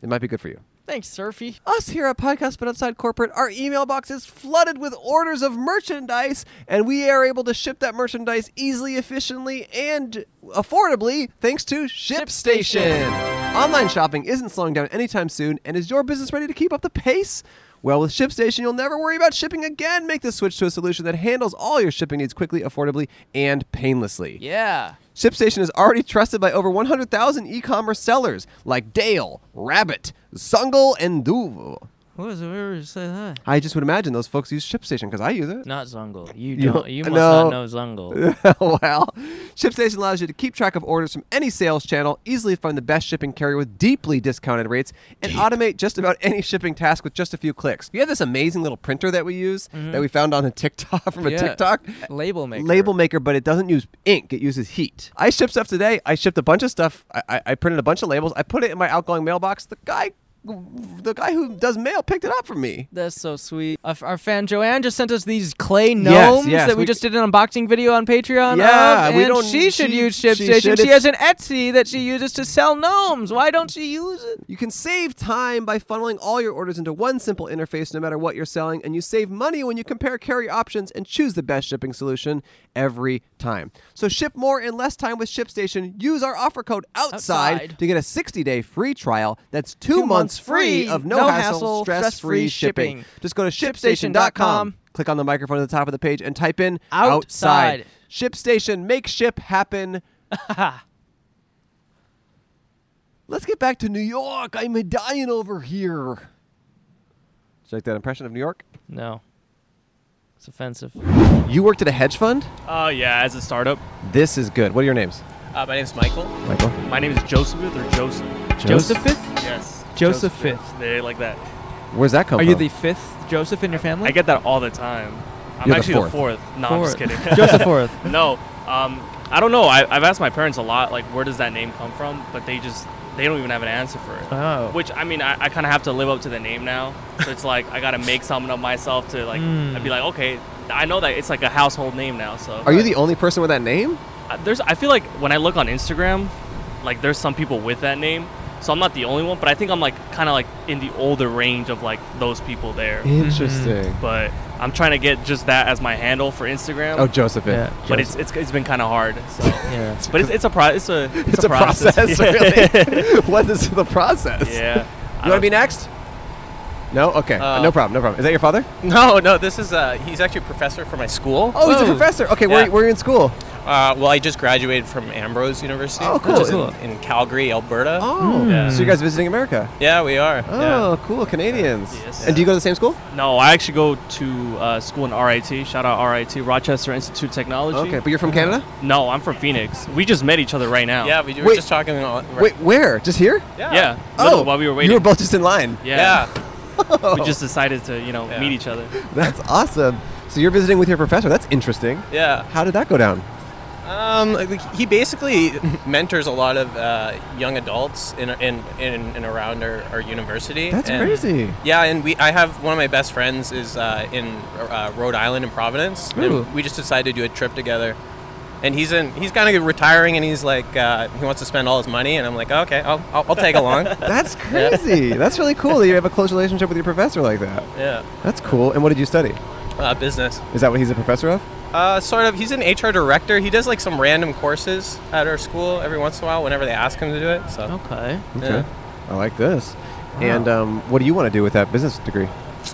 It might be good for you. Thanks, Surfy. Us here at Podcast But Outside Corporate, our email box is flooded with orders of merchandise, and we are able to ship that merchandise easily, efficiently, and affordably thanks to ShipStation. Online shopping isn't slowing down anytime soon, and is your business ready to keep up the pace? Well, with ShipStation, you'll never worry about shipping again. Make the switch to a solution that handles all your shipping needs quickly, affordably, and painlessly. Yeah. ShipStation is already trusted by over 100,000 e-commerce sellers like Dale, Rabbit, Zungle, and Duvo. What was it? Where did you say that? I just would imagine those folks use ShipStation because I use it. Not Zungle. You You- don't. You must no. not know Zungle. well, ShipStation allows you to keep track of orders from any sales channel, easily find the best shipping carrier with deeply discounted rates, and automate just about any shipping task with just a few clicks. We have this amazing little printer that we use that we found on a TikTok from a Mm-hmm. Yeah. TikTok. Label maker. label maker, but it doesn't use ink. It uses heat. I shipped stuff today. I shipped a bunch of stuff. I, I, I printed a bunch of labels. I put it in my outgoing mailbox. The guy, the guy who does mail, picked it up for me. That's so sweet. Our, our fan Joanne just sent us these clay gnomes yes, that we, we- just did an unboxing video on Patreon. Yeah, of, we and don't- She should she- use she ShipStation. should. She, It's- has an Etsy that she uses to sell gnomes. Why don't she use it? You can save time by funneling all your orders into one simple interface no matter what you're selling, and you save money when you compare carrier options and choose the best shipping solution every time. So ship more in less time with ShipStation. Use our offer code outside, Outside. to get a 60-day free trial that's 2, months, free of no, hassle, stress-free shipping. Just go to shipstation.com, shipstation.com. click on the microphone at the top of the page and type in Outside. outside. ShipStation, make ship happen. Let's get back to New York. I'm a dying over here. Did you like that impression of New York? No. It's offensive. You worked at a hedge fund? Oh yeah, as a startup. This is good. What are your names? Uh, my name's Michael. Michael. My name is Josephith or Joseph. Joseph? Josephith? Yes. Joseph Josephith. They like that. Where's that come Are from? you the fifth Joseph in your family? I get that all the time. I'm You're the actually fourth. No, Fourth. I'm just kidding. Joseph Fourth. no, um, I don't know. I, I've asked my parents a lot, like, where does that name come from? But they just they don't even have an answer for it. Oh. Which I mean, I, I kind of have to live up to the name now. So it's like I gotta make something of myself to like. Mm. I'd be like, okay, I know that it's like a household name now. So Are you the only person with that name? Uh, there's I feel like when I look on Instagram, like there's some people with that name. So I'm not the only one, but I think I'm like kind of like in the older range of like those people there. Interesting. Mm-hmm. But I'm trying to get just that as my handle for Instagram. Oh, Joseph. Yeah. But it's, it's it's been kind of hard. So. Yeah. But it's, it's a pro- it's a it's, It's a process, really. what is the process? yeah. I You want to don't- be next? No? Okay. Uh, no problem. No problem. Is that your father? No, no, this is, uh, he's actually a professor for my school. Oh, he's a professor. Okay, where, Yeah. where are you in school? Uh, well, I just graduated from Ambrose University. Oh, which cool. is in- Cool. In, Calgary, Alberta. Oh. Yeah. So you guys visiting America? Yeah, we are. yeah. Oh, cool. Canadians. And do you go to the same school? No, I actually go to uh, school in RIT. Shout out RIT, Rochester Institute of Technology. Mm-hmm. Okay, but you're from Canada? No, I'm from Phoenix. We just met each other right now. Yeah, we were Wait. just talking. On, Wait, where? Just here? Yeah. Oh, literally while we were waiting. You were both just in line. Yeah. we just decided to, you know, meet each other. That's awesome. So you're visiting with your professor. That's interesting. Yeah. How did that go down? Uh, Um, like, he basically mentors a lot of uh, young adults in in, in and around our, our university. That's And- crazy. Yeah, and we I have one of my best friends is uh, in uh, Rhode Island in Providence. Ooh. And we just decided to do a trip together. And he's in. He's kind of retiring, and he's like, uh, he wants to spend all his money, and I'm like, okay, I'll, I'll, I'll tag along. That's crazy. That's really cool that you have a close relationship with your professor like that. Yeah. That's cool. And what did you study? Uh, business. Is that what he's a professor of? Uh, sort of. He's an HR director. He does like some random courses at our school every once in a while whenever they ask him to do it. So okay. Okay. I like this. And um, what do you want to do with that business degree?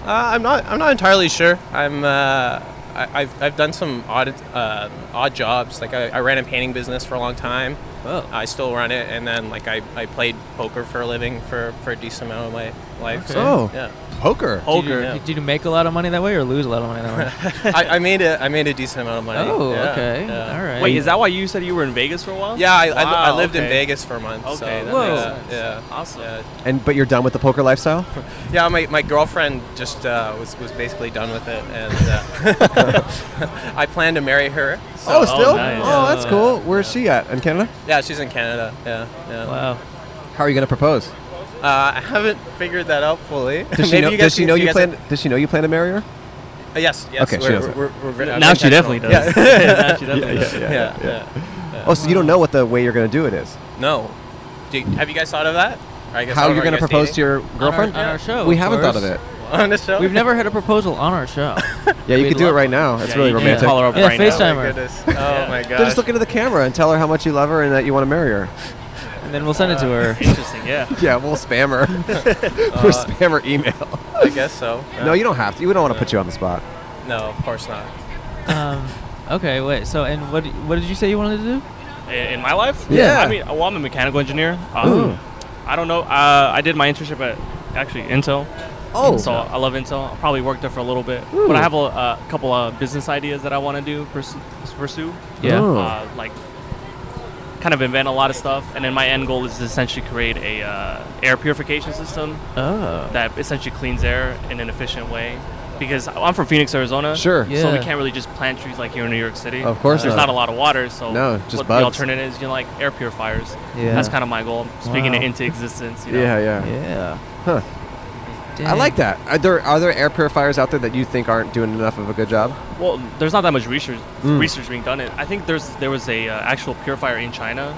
Uh, I'm not. I'm not entirely sure. I'm. Uh, I, I've, I've done some odd uh, odd jobs. Like I, I ran a painting business for a long time. Oh. I still run it, and then like I, I played poker for a living for, for a decent amount of my life. So, Oh, yeah. poker. Did you, Poker. did you make a lot of money that way or lose a lot of money that way? I, I made a I made a decent amount of money. Oh, Yeah, okay. yeah. All right. Wait, is that why you said you were in Vegas for a while? Yeah, I, I, li- I Wow, lived in okay. Vegas for a month. Okay, so that yeah, makes Yeah, Awesome. And but you're done with the poker lifestyle? Yeah, my, my girlfriend just uh, was, was basically done with it, and uh, I plan to marry her. so- oh, still? Oh, that's cool. Where's she at? In Canada? Yeah, she's in Canada. Yeah, yeah. Wow. How are you going to propose? Uh, I haven't figured that out fully. Does she Maybe know? guys Does she can- know you guys plan? Does she know you plan to marry her? can- Uh, yes. Yes. Okay, she we're- knows it. we're- we're very- Now she definitely intentional. does. Yeah. Now she definitely yeah, does. Yeah. Yeah, yeah, yeah. yeah. Oh, so you don't know what the way you're going to do it is? No. Do you, have you guys thought of that? I guess I How don't you're know, going to you guys propose to dating? your girlfriend? on our show? We of haven't thought of course. it. On the show? We've never had a proposal on our show. Yeah, you We'd could do it love- right now. It's Yeah, really you can romantic. call her up Yeah, right now. FaceTime Oh my her. goodness. Oh my Then Just gosh. look into the camera and tell her how much you love her and that you want to marry her. And then we'll send it to her. Interesting. Yeah. yeah, we'll spam her. Uh, we'll spam her email. I guess so. No, you don't have to. We don't want to put you on the spot. No, of course not. um, okay, wait. So, and what what did you say you wanted to do? I- In my life? Yeah. I mean, well, I'm a mechanical engineer. Um, I don't know. Uh, I did my internship at actually Intel. Oh. So I love Intel. I probably worked there for a little bit, Ooh. but I have a, a couple of business ideas that I want to do pursue. pursue. Yeah. Oh. Uh, like, kind of invent a lot of stuff, and then my end goal is to essentially create a uh, air purification system Oh. that essentially cleans air in an efficient way. Because I'm from Phoenix, Arizona. Sure. So we Yeah. can't really just plant trees like here in New York City. Of course There's not. not. a lot of water, so No, just what bugs. the alternative is you know, like air purifiers. Yeah. That's kind of my goal. I'm Speaking Wow. it into existence. You know? Yeah, yeah. Yeah. Huh. I Dang. like that. Are there are there air purifiers out there that you think aren't doing enough of a good job? Well, there's not that much research Mm. research being done. I think there's there was a uh, actual purifier in China,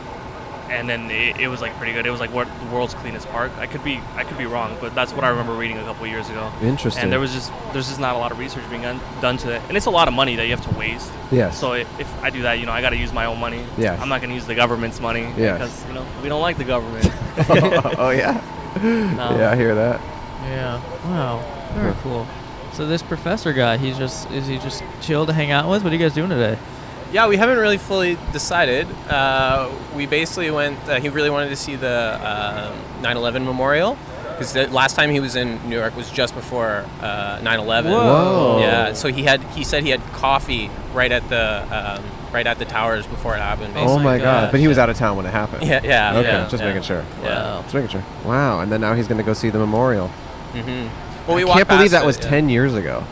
and then it, it was like pretty good. It was like what the world's cleanest park. I could be I could be wrong, but that's what I remember reading a couple years ago. Interesting. And there was just there's just not a lot of research being done, done to it, and it's a lot of money that you have to waste. Yes. So i if I do that, you know, I got to use my own money. Yes. I'm not going to use the government's money Yes. because you know we don't like the government. oh yeah. No. Yeah, I hear that. Yeah. Wow. Very Huh. cool. So this professor guy, he's just is he just chill to hang out with? What are you guys doing today? Yeah, we haven't really fully decided. Uh, we basically went. Uh, he really wanted to see the um 9/11 memorial because the last time he was in New York was just before uh, 9/11. Whoa. Yeah, so he had. He said he had coffee right at the um, right at the towers before it happened. Basically. oh my god! But he was out of town when it happened. Yeah, yeah, Okay, yeah, just yeah. making sure. Yeah. Just making sure. Wow. And then now he's going to go see the memorial. hmm Well, we I walked can't believe past that it, was yeah. ten years ago.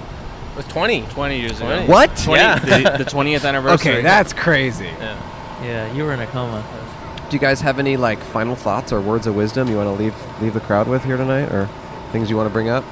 It was 20. 20 years ago. What? 20 Yeah. the, the 20th anniversary. Okay, that's crazy. Yeah. Yeah, you were in a coma. Do you guys have any like final thoughts or words of wisdom you want to leave leave the crowd with here tonight, or things you want to bring up,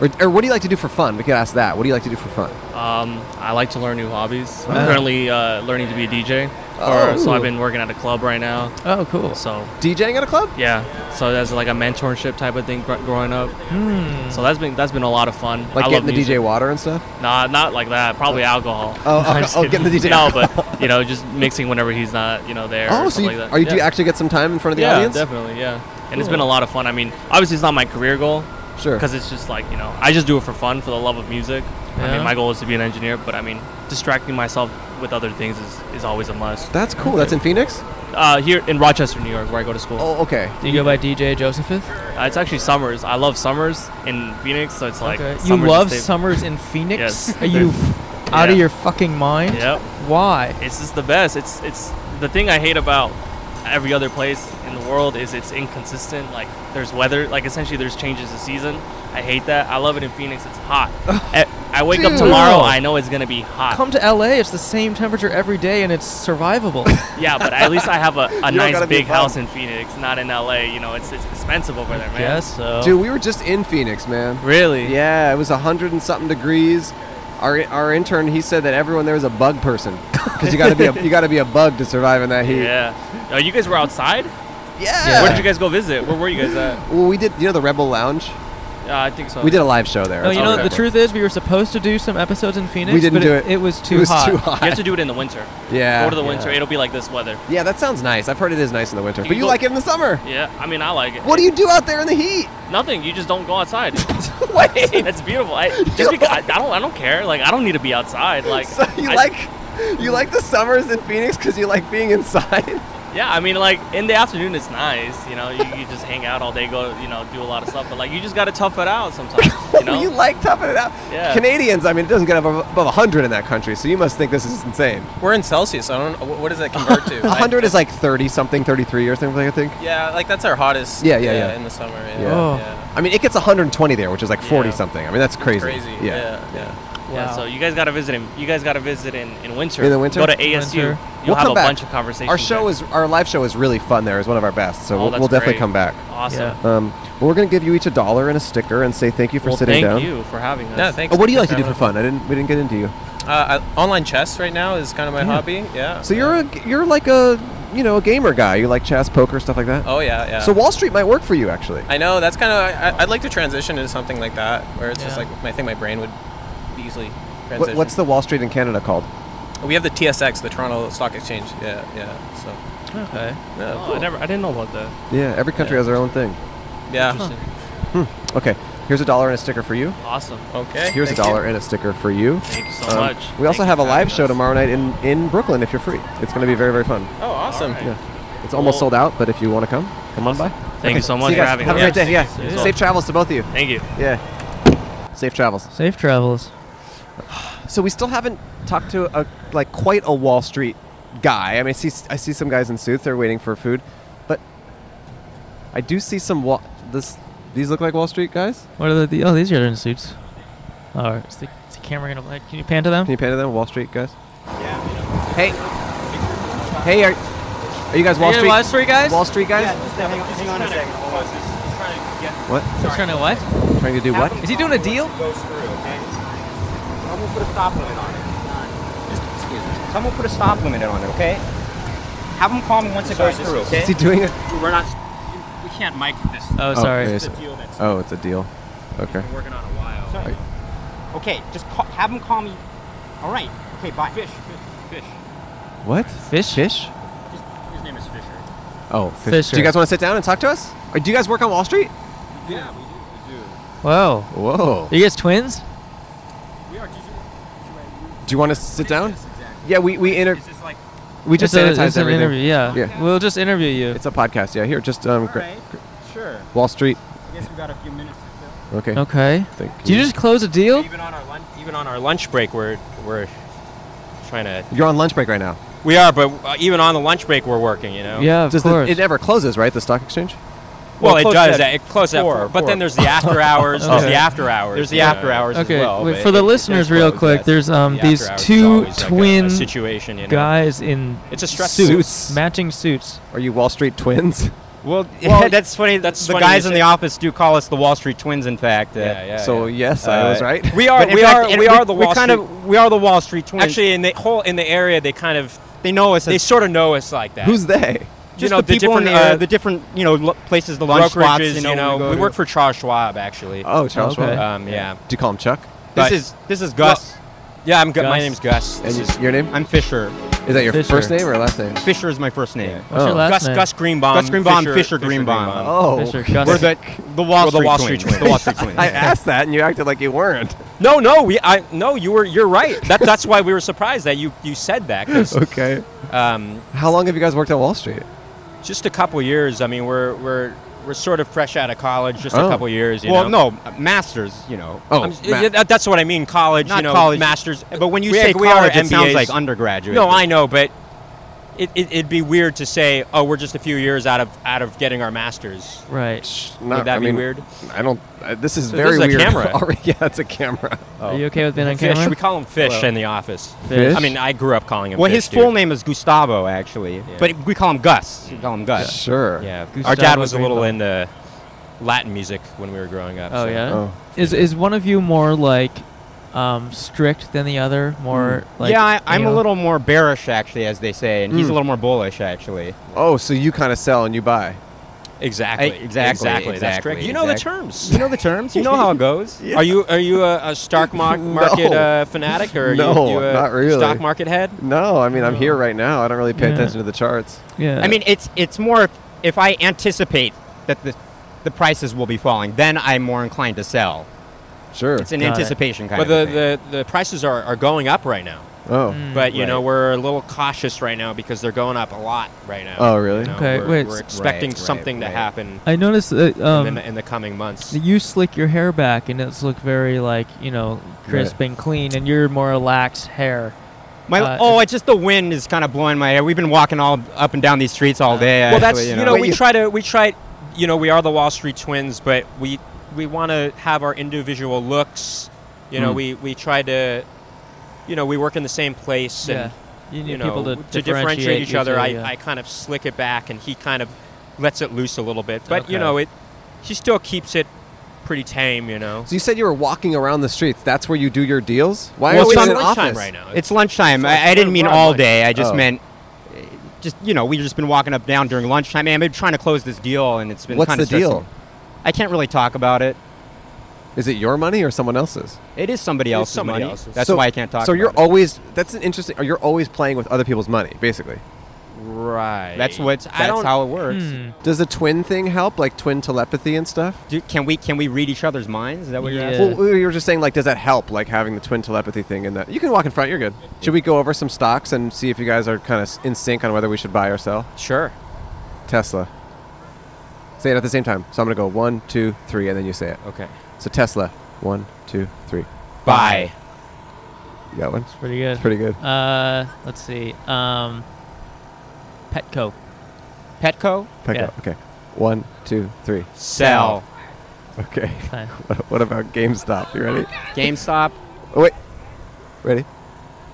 or, or what do you like to do for fun? We could ask that. What do you like to do for fun? Um, I like to learn new hobbies. Wow. I'm currently uh, learning to be a DJ. Ah. Oh. Or, so I've been working at a club right now. Oh, cool. So DJing at a club? yeah. So that's like a mentorship type of thing gr- growing up. Hmm. So that's been that's been a lot of fun. Like I love getting the music. DJ water and stuff. Nah, not like that. Probably alcohol. Oh, I'm just oh, kidding. getting the DJ No, alcohol. but you know, just mixing whenever he's not, you know, there. Oh, or so something you, like that. are you do you Yeah. actually get some time in front of the yeah, audience? definitely, yeah. And it's Cool. been a lot of fun. I mean, obviously, it's not my career goal. Sure. Because it's just like you know, I just do it for fun, for the love of music. I Yeah. mean, my goal is to be an engineer, but I mean, distracting myself with other things is, is always a must. That's cool. That's in Phoenix. Uh, here in Rochester, New York, where I go to school. Oh, okay. Do you go by DJ Josephus? Uh, it's actually summers. I love summers in Phoenix, so it's like Okay. You summers love stay- summers in Phoenix? Yes. Are you f- out of Yeah. your fucking mind? Yep. Why? It's just the best. It's it's the thing I hate about every other place in the world is it's inconsistent. Like there's weather. Like essentially there's changes of season. I hate that. I love it in Phoenix. It's hot. E- I wake up Dude. tomorrow. No. I know it's gonna be hot. Come to LA, it's the same temperature every day and it's survivable. yeah, but at least I have a, You a don't nice gotta be big bummed. house in Phoenix, not in LA. You know, it's, it's expensive over there, man. guess so. Dude, we were just in Phoenix, man. Really? Yeah, it was a hundred and something degrees. Our, our intern, he said that everyone there was a bug person because you got to be a, you got to be a bug to survive in that heat. yeah. Oh, you guys were outside? Yeah. Where did you guys go visit? Where were you guys at? Well, we did. You know the Rebel Lounge. Uh, I think so. We did a live show there. No, you know Okay. the truth is we were supposed to do some episodes in Phoenix. We didn't but do it. it. was It too was hot. too hot. You have to do it in the winter. Yeah. Go to the Yeah. winter. It'll be like this weather. Yeah, that sounds nice. I've heard it is nice in the winter, but can you go- like it in the summer. Yeah, I mean, I like it. What do you do out there in the heat? Nothing. You just don't go outside. what? That's beautiful. I just because I, I don't. I don't care. Like I don't need to be outside. Like So you I- like you like the summers in Phoenix because you like being inside. Yeah, I mean, like in the afternoon, it's nice. You know, you, you just hang out all day, go, you know, do a lot of stuff. But like, you just gotta tough it out sometimes. You know, you like toughing it out. Yeah. Canadians, I mean, it doesn't get above, above 100 in that country, so you must think this is insane. We're in Celsius. I don't. What, what does that convert to? 100 is like 30 something, 33 or something, I think. Yeah, like that's our hottest. Yeah, yeah, yeah. In the summer. Yeah. Oh. I mean, it gets 120 there, which is like 40 something. I mean, that's It's crazy. crazy, yeah, Yeah, Wow. so you guys gotta visit in You guys gotta visit in, in winter. In the winter, Go to ASU. You'll We'll have come a back. bunch of conversations. Our show there. is our live show is really fun. There is one of our best, so Oh, we'll, that's we'll definitely great. come back. Awesome. Um, but we're gonna give you each a dollar and a sticker and say thank you for Well, sitting thank down. you for having us. No, thanks. Oh, what do you like Thanks to do for having fun? I didn't. We didn't get into you. us. Uh, I, online chess right now is kind of my Yeah. hobby. Oh, Yeah. So you're a you're like a you know a gamer guy. You like chess, poker, stuff like that. Oh, yeah, yeah. So Wall Street might work for you actually. I know that's kind of. I, I'd like to transition into something like that, where it's just like I think my brain would easily What, transition. what's the Wall Street in Canada called? We have the TSX, the Toronto Stock Exchange. Yeah, yeah. So. Okay. Yeah, Oh, cool. I never. I didn't know about that. Yeah, every country has their own thing. Yeah. Hmm. Okay, here's a dollar and a sticker for you. Awesome. Okay. Here's thank a you. dollar and a sticker for you. Um, Thank you so much. We also have a live show tomorrow night in, in Brooklyn if you're free. It's going to be very, very fun. Oh, awesome. Yeah. It's almost sold out, but if you want to come, come on by. Thank you so much see for guys. having Have us. a great day. Yes, you Yeah. too. Safe travels to both of you. Thank you. Yeah. Safe travels. Safe travels. So we still haven't talked to a like quite a Wall Street guy. I mean, I see I see some guys in suits. They're waiting for food, but I do see some Wall. This these look like Wall Street guys. What are the, the oh these guys are in suits. Oh, is the, is the camera gonna like? Can you pan to them? Can you pan to them, Wall Street guys? Hey. Hey, are, are you guys Wall Hey, Street? Wall Street guys? Wall Street guys? hang on a second. Hold on. What? He's trying to what? Trying to do what? Is he doing a deal? Goes through, okay? Someone put a stop limit on it. Just- Excuse me. Someone put a stop limit on it, okay? Have them call me once it goes through, okay? Is he doing it? We're not. We can't mic this. Oh, sorry. it It's is. a deal that's oh, it's a deal. Okay. been working on a while. Okay, just call, have them call me. All right. Okay, bye. Fish. Fish. Fish. What? Fish? Fish? His, his name is Fisher. Oh, fish. Fisher. Do you guys want to sit down and talk to us? Or do you guys work on Wall Street? Yeah, we do. We do. Whoa. Whoa. Are you guys twins? We are. Did you? uh, Do you want to sit down? Yeah, we we inter- like- we just It's a- sanitized it's an everything. interview, yeah. yeah. We'll just interview you. It's a podcast. Yeah, here, just um, gra- Right. Sure. Wall Street. I guess we got a few minutes to fill. Okay. Okay. Thank Do you just close a deal? Even on our lunch, even on our lunch break, we're we're trying to. You're on lunch break right now. We are, but uh, even on the lunch break, we're working. You know. Does the- it never closes, right? The stock exchange. well, it closes does. at At, it closes at four, four, but four. then there's the after hours. There's Okay. the after hours. There's the Yeah. after hours Okay, as well. wait, but for the it- it listeners, does real close, quick, yes. there's um The after these hours is two always like a- a twin situation, you know? guys in It's a stressful- suits, Suits. matching suits. Are you Wall Street twins? Well, Well, that's funny. That's the funny guys you in the say- office do call us the Wall Street Twins. In fact, Uh, yeah, yeah, So, yeah. yes, I was right. We are, But in we fact, are, and we we- are the we Wall kind Street. of- we are the Wall Street Twins. Actually, in the whole in the area, they kind of they know us. They as- sorta know us like that. Who's they? You Just know, the the, people in different, the area. uh, the different, you know, lo- places, the lunch spots. Brokerages, You know, you know, we, go we to. work work for Charles Schwab actually. Oh, Charles Schwab. Um, yeah. Do you call him Chuck? This is this is Gus. yeah, I'm Gus. My Gus. name's Gus. And This is- your name? I'm Fisher. Is that your Fisher. first name or last name? Fisher is my first name. What's your Oh. last Gus, name? Gus Greenbaum. Gus Greenbaum, Fisher, Fisher Greenbaum. Greenbaum. Oh. Fisher, Gus. We're the the Wall, We're Street, twins. The Wall Street Twins. I yeah. asked that, and you acted like you weren't. No, no, we, I, no. You were, you're right. That, that's why we were surprised that you, you said that. 'cause okay. Um, How long have you guys worked on Wall Street? just a couple years. I mean, we're, we're, we're sort of fresh out of college. Just Oh. a couple years. You Well, know? no, masters. You know. Oh, ma- that's what I mean. College. Not you know, college. Masters. But when you We- say we are college, MBAs. it sounds like undergraduate. No, I know, but it, it, it'd be weird to say, oh, we're just a few years out of out of getting our masters. Right. Would that I be mean, weird? I don't. Uh, this is So this very is a weird. camera. Oh. already. yeah, it's a camera. Are you okay with being on Fish. camera? We call him Fish Hello. in the office. Fish? I mean, I grew up calling him. Well, Fish, his dude. full name is Gustavo, actually. but we call him Gus. We call him Gus. Sure. Yeah. Our Gustavo dad was a little Greenbaum. into Latin music when we were growing up. Oh so- yeah. Is is one of you more like um, strict than the other? More Hmm. like Yeah, I, I'm you a know? little more bearish, actually, as they say, and he's a Hmm. Mm. little more bullish, actually. Oh, so you kind of sell and you buy. Exactly. I- exactly, Exactly. That's exactly, correct. You know the exact- terms. You know the terms. You know how it goes. Yeah. Are you are you a, a stock mar- market No. uh, fanatic or are you- no, you, a not really. stock market head? No, I mean I'm here right now. I don't really pay attention to the charts. I mean, it's it's more if, if I anticipate that the the prices will be falling, then I'm more inclined to sell. Sure. It's an Got it. anticipation kind but of the, thing. Mm. the the prices are, are going up right now. Oh. But you Right. know we're a little cautious right now because they're going up a lot right now. Oh, really? You know, Okay, we're, wait. We're expecting Right, right, something to right. happen. I noticed that um, in, the, in the coming months. You slick your hair back, and it's look very like you know crisp and clean, and you're more relaxed hair. My, Uh, oh, it's just the wind is kind of blowing my hair. We've been walking all up and down these streets all day. Uh, well, actually, that's you know we try to we try, you know we are the Wall Street twins, but we we want to have our individual looks. You know Mm. we we try to, you know we work in the same place Yeah. and You need know people to differentiate, differentiate each other. usually, yeah. I, I kind of slick it back and he kind of lets it loose a little bit, but you Okay. know it. She still keeps it pretty tame, you know. So you said you were walking around the streets. That's where you do your deals. Why Well, are we it's in an lunchtime office right now. It's lunchtime. It's I, I like didn't mean broad all lunch. day. I just Oh. meant uh, just you know we've just been walking up down during lunchtime. And I've been trying to close this deal, and it's been What's kinda the deal? stressful. I can't really talk about it. Is it your money or someone else's? It is somebody else's money. That's So- why I can't talk. So about you're it. always that's an interesting. Or you're always playing with other people's money, basically. Right. That's what. That's I don't- how it works. Hmm. Does the twin thing help, like twin telepathy and stuff? Do, can we can we read each other's minds? Is that what you're asking? Well, we were just saying, like, does that help, like having the twin telepathy thing in that? You can walk in front. You're good. Should we go over some stocks and see if you guys are kind of in sync on whether we should buy or sell? Sure. Tesla. Say it at the same time. So I'm gonna go one, two, three, and then you say it. Okay. So Tesla. One, two, three. Buy. You got one. It's pretty good. pretty good. Uh, let's see. Um, Petco. Petco. Pick Yeah. up. Okay. One, two, three. Sell. Okay. Fine. what, what about GameStop? You ready? GameStop. Oh, wait. Ready?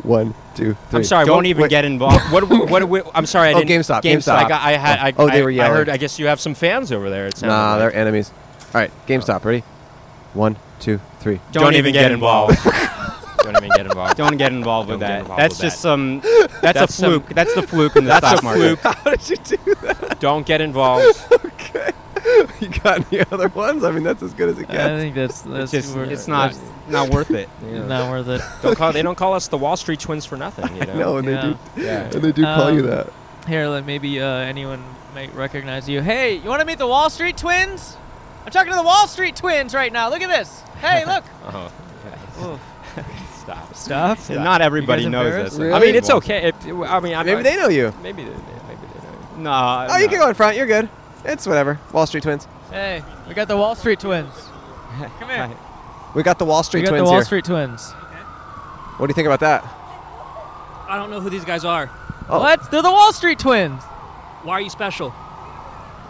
One, two, three. I'm sorry, Don't won't even wait. get involved. what, what, what, what- I'm sorry, I Oh, didn't. GameStop, GameStop. I, got, I had. I, Oh, they were I, I heard. yelling. I guess you have some fans over there. It sounds. Nah, like. they're enemies. All right, GameStop. Ready? One, two, three. Don't Don't even even get get involved. Don't even get involved. Don't get involved with Don't get that. involved That's with just that. some. That's, That's a some- fluke. that's the fluke in the That's stock a market. fluke. How did you do that? Don't get involved. you got any other ones? I mean, that's as good as it gets. I think that's that's just- worth- it's not- Uh, Not worth it. Yeah. Not worth it. Don't call. They don't call us the Wall Street Twins for nothing. You know. know, and they do- Yeah. and they do call you that. Here, like, maybe uh, anyone might recognize you. Hey, you want to meet the Wall Street Twins? I'm talking to the Wall Street Twins right now. Look at this. Hey, look. Oh. Oof. Stop. Stop. Stop. Not everybody You guys knows embarrassed? this. I mean, it's okay. It, I mean, I'm Maybe not- they know you. Maybe they. Maybe they know. you. No. Oh, you can go in front. You're good. It's whatever. Wall Street Twins. Hey, we got the Wall Street Twins. Come here. We got the Wall Street we got Twins the Wall here. Street Twins. What do you think about that? I don't know who these guys are. What? They're the Wall Street Twins. Why are you special?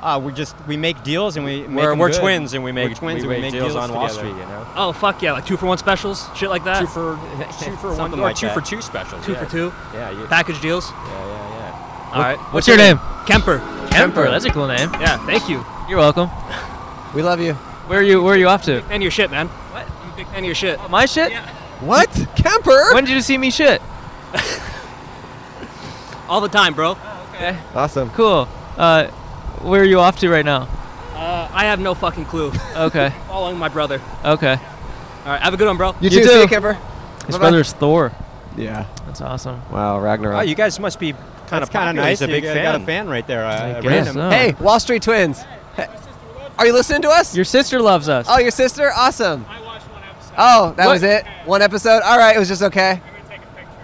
Uh, we just we make deals and we make We're- them we're good. twins and we make- we're twins we and we make make deals deals, on Wall together. Street, you know? Oh fuck yeah, like two for one specials, shit like that. Two for- two for one- Something or like two that. for two specials, Two yeah. for two. Yeah, you- Package deals. Yeah, yeah, yeah. All right. What's your name? Kemper. Kemper, that's a cool name. Yeah. Thank you. You're welcome. We love you. Where are you? Where are you off to? And your shit, man. What? You big fan of your shit. My shit? What? Kemper? When did you see me shit? All the time, bro. okay. Awesome. Cool. Uh, where are you off to right now? Uh, I have no fucking clue. Okay. Following my brother. Okay. All right. Have a good one, bro. too, His brother's Thor. Yeah. That's awesome. Wow, Ragnarok. Oh, you guys must be kind That's of kinda popular. nice. He's a You big got- fan. got a fan right there, uh, guess random. so. Hey, Wall Street Twins. Hey, Are you listening to us? Your sister loves us. Oh, your sister? Awesome. I watched one episode. Oh, that What- was it? One episode? All right, it was just okay.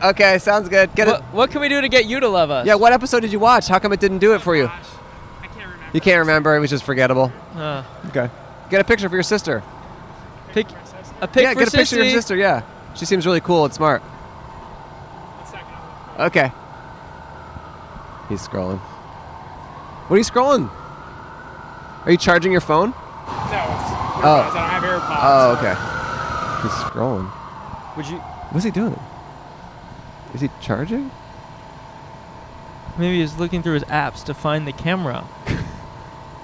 Okay, sounds good. Get what, it. what can we do to get you to love us? Yeah, what episode did you watch? How come it didn't do it for you? I can't remember. You can't remember. It was just forgettable. Uh, Okay. Get a picture for your sister. pick a pic yeah, for get a picture of your Sissy. sister. Yeah, she seems really cool and smart. Okay. He's scrolling. What are you scrolling? Are you charging your phone? No, it's, Oh. no, it's- I don't have AirPods. Oh, okay. He's scrolling. Would you- What's he doing? Is he charging? Maybe he's looking through his apps to find the camera.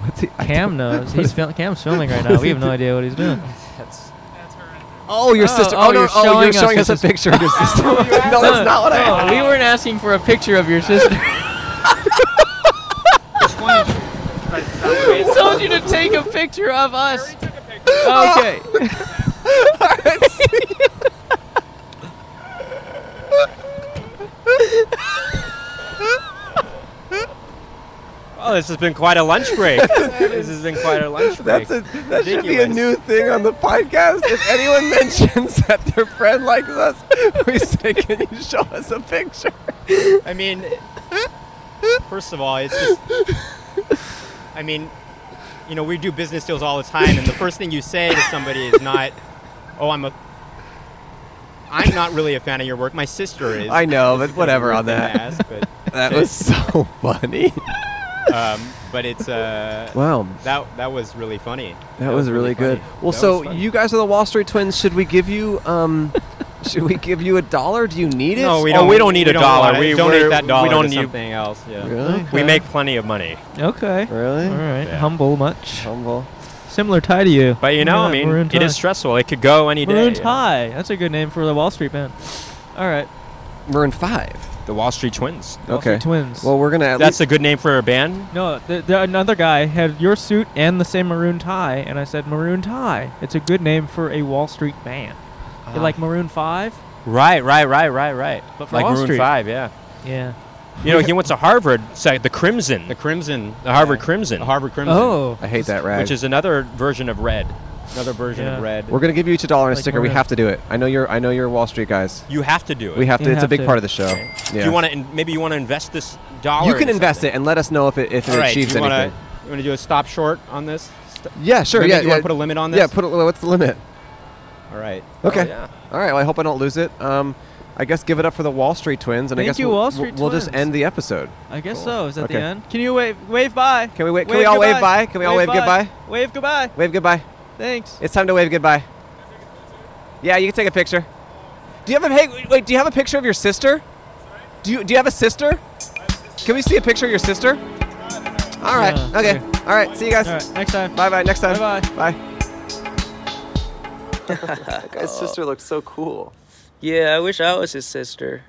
What's he? Cam knows. He's fil- Cam's filming right now. We have no idea what he's doing. That's. Oh, your sister. Oh, no, you're oh, you're us showing your us a sister. picture of your sister. no, that's not what I. No, We weren't asking for a picture of your sister. we told you to take a picture of us. Okay. Well, Oh, this has been quite a lunch break. this has been quite a lunch break. That's a, that should be a new thing on the podcast. If anyone mentions that their friend likes us, we say, "Can you show us a picture?" I mean, first of all, it's just. I mean, you know, we do business deals all the time, and the first thing you say to somebody is not, "Oh, I'm a." I'm not really a fan of your work. My sister is. I know, but She's whatever a on that. dumbass, but- That was so funny. um, but it's uh, Wow. That that was really funny. That, was, really good. funny. Well, That was so funny. you guys are the Wall Street Twins. Should we give you um, should we give you a dollar? Do you need it? No, we don't. Oh, we don't need a dollar. want it. We donate we're- that dollar. We don't to need something else. Yeah. Really? We Okay. make plenty of money. Okay. Really? All right. Humble much. Humble. Similar tie to you. But you Look know, at I that mean, maroon it is tie. stressful. It could go any Maroon day. yeah. tie. That's a good name for the Wall Street band. All right. Maroon Five. The Wall Street Twins. Wall Street Twins. Well, we're gonna. At That's least, a good name for a band. No, th- th- another guy had your suit and the same maroon tie, and I said maroon tie. It's a good name for a Wall Street band. You Ah. like Maroon Five? Right, right, right, right, right. But for like Wall Maroon Street. Five, yeah. Yeah. You know, he went to Harvard. So the Crimson. The Crimson. The Harvard Crimson. The Harvard Crimson. Oh. I hate that rag. Which is another version of red. Another version Yeah. of red. we're gonna give you each a dollar and a Like sticker. We Maroon. have to do it. I know you're. I know you're Wall Street guys. You have to do it. We have to. it's a big part of the show. Okay. Do Yeah. you want to? In- maybe you want to invest this dollar. You can in invest it and let us know if it if it All right, achieves you wanna- anything. You want to do a stop short on this? St- Yeah, sure. Limit? yeah, You yeah. want to put a limit on this? Yeah, put a, what's the limit? All right. Okay. Oh, yeah. All right. Well, I hope I don't lose it. Um, I guess give it up for the Wall Street Twins, and I Thank guess you, we'll, Wall Street we'll, we'll just Twins. end the episode. I guess so. Is that Okay. the end? Can you wave wave bye? Can we wait? Can we all wave bye? Can we all wave goodbye? Wave goodbye. Wave goodbye. Thanks. It's time to wave goodbye. Yeah, you can take a picture. Do you have a hey, wait? Do you have a picture of your sister? Do you do you have a sister? Can we see a picture of your sister? All right. Yeah, Okay. okay. All right. See you guys. All right, next time. Bye bye. Next time. Bye-bye. Bye. that guy's Oh. sister looks so cool. Yeah, I wish I was his sister.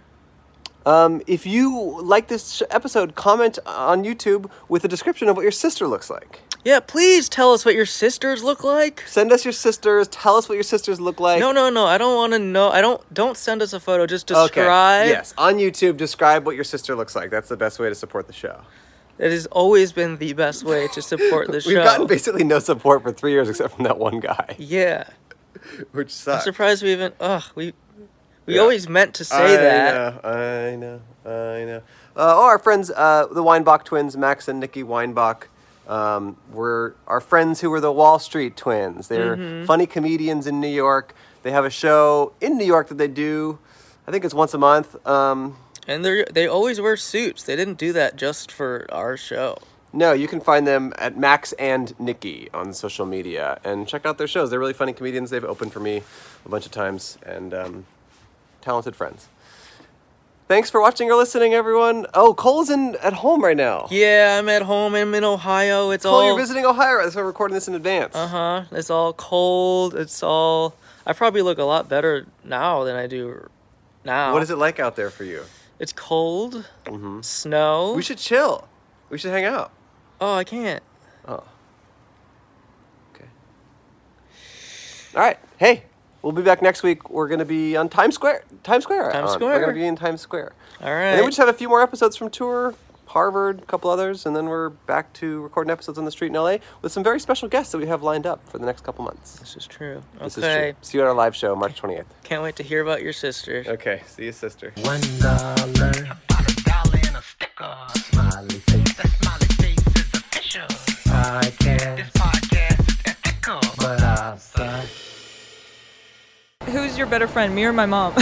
Um, if you like this sh- episode, comment on YouTube with a description of what your sister looks like. Yeah, please tell us what your sisters look like. Send us your sisters. Tell us what your sisters look like. No, no, no. I don't want to know. I don't. Don't send us a photo. Just Okay, describe. Yes, on YouTube, describe what your sister looks like. That's the best way to support the show. It has always been the best way to support the show. We've gotten basically no support for three years except from that one guy, Yeah. which I'm sucks. surprised we even. Ugh. We. We Yeah. always meant to say I that. Know, I know. I know. Uh, all our friends, uh, the Weinbach twins, Max and Nikki Weinbach, um, were our friends who were the Wall Street twins. They're Mhm. funny comedians in New York. They have a show in New York that they do. I think it's once a month. Um, And they they always wear suits. They didn't do that just for our show. No, you can find them at Max and Nikki on social media and check out their shows. They're really funny comedians. They've opened for me a bunch of times and um, talented friends. Thanks for watching or listening, everyone. Oh, Cole's in at home right now. Yeah, I'm at home. I'm in Ohio. It's Cole, all you're visiting Ohio. That's why we're recording this in advance. Uh huh. It's all cold. It's all. I probably look a lot better now than I do now. What is it like out there for you? It's cold. Snow. We should chill. We should hang out. Oh, I can't. Oh. All right. Hey, we'll be back next week. We're going to be on Times Square. Times Square. Times on. We're Square. going to be in Times Square. All And then we right. just have a few more episodes from tour, Harvard, a couple others, and then we're back to recording episodes on the street in LA with some very special guests that we have lined up for the next couple months. This is true. This is okay. true. See you at our live show, March 28th. Can't wait to hear about your sister. Okay. See you, sister. One dollar. Smiley face. Podcast. But I suck. Who's your better friend, me or my mom?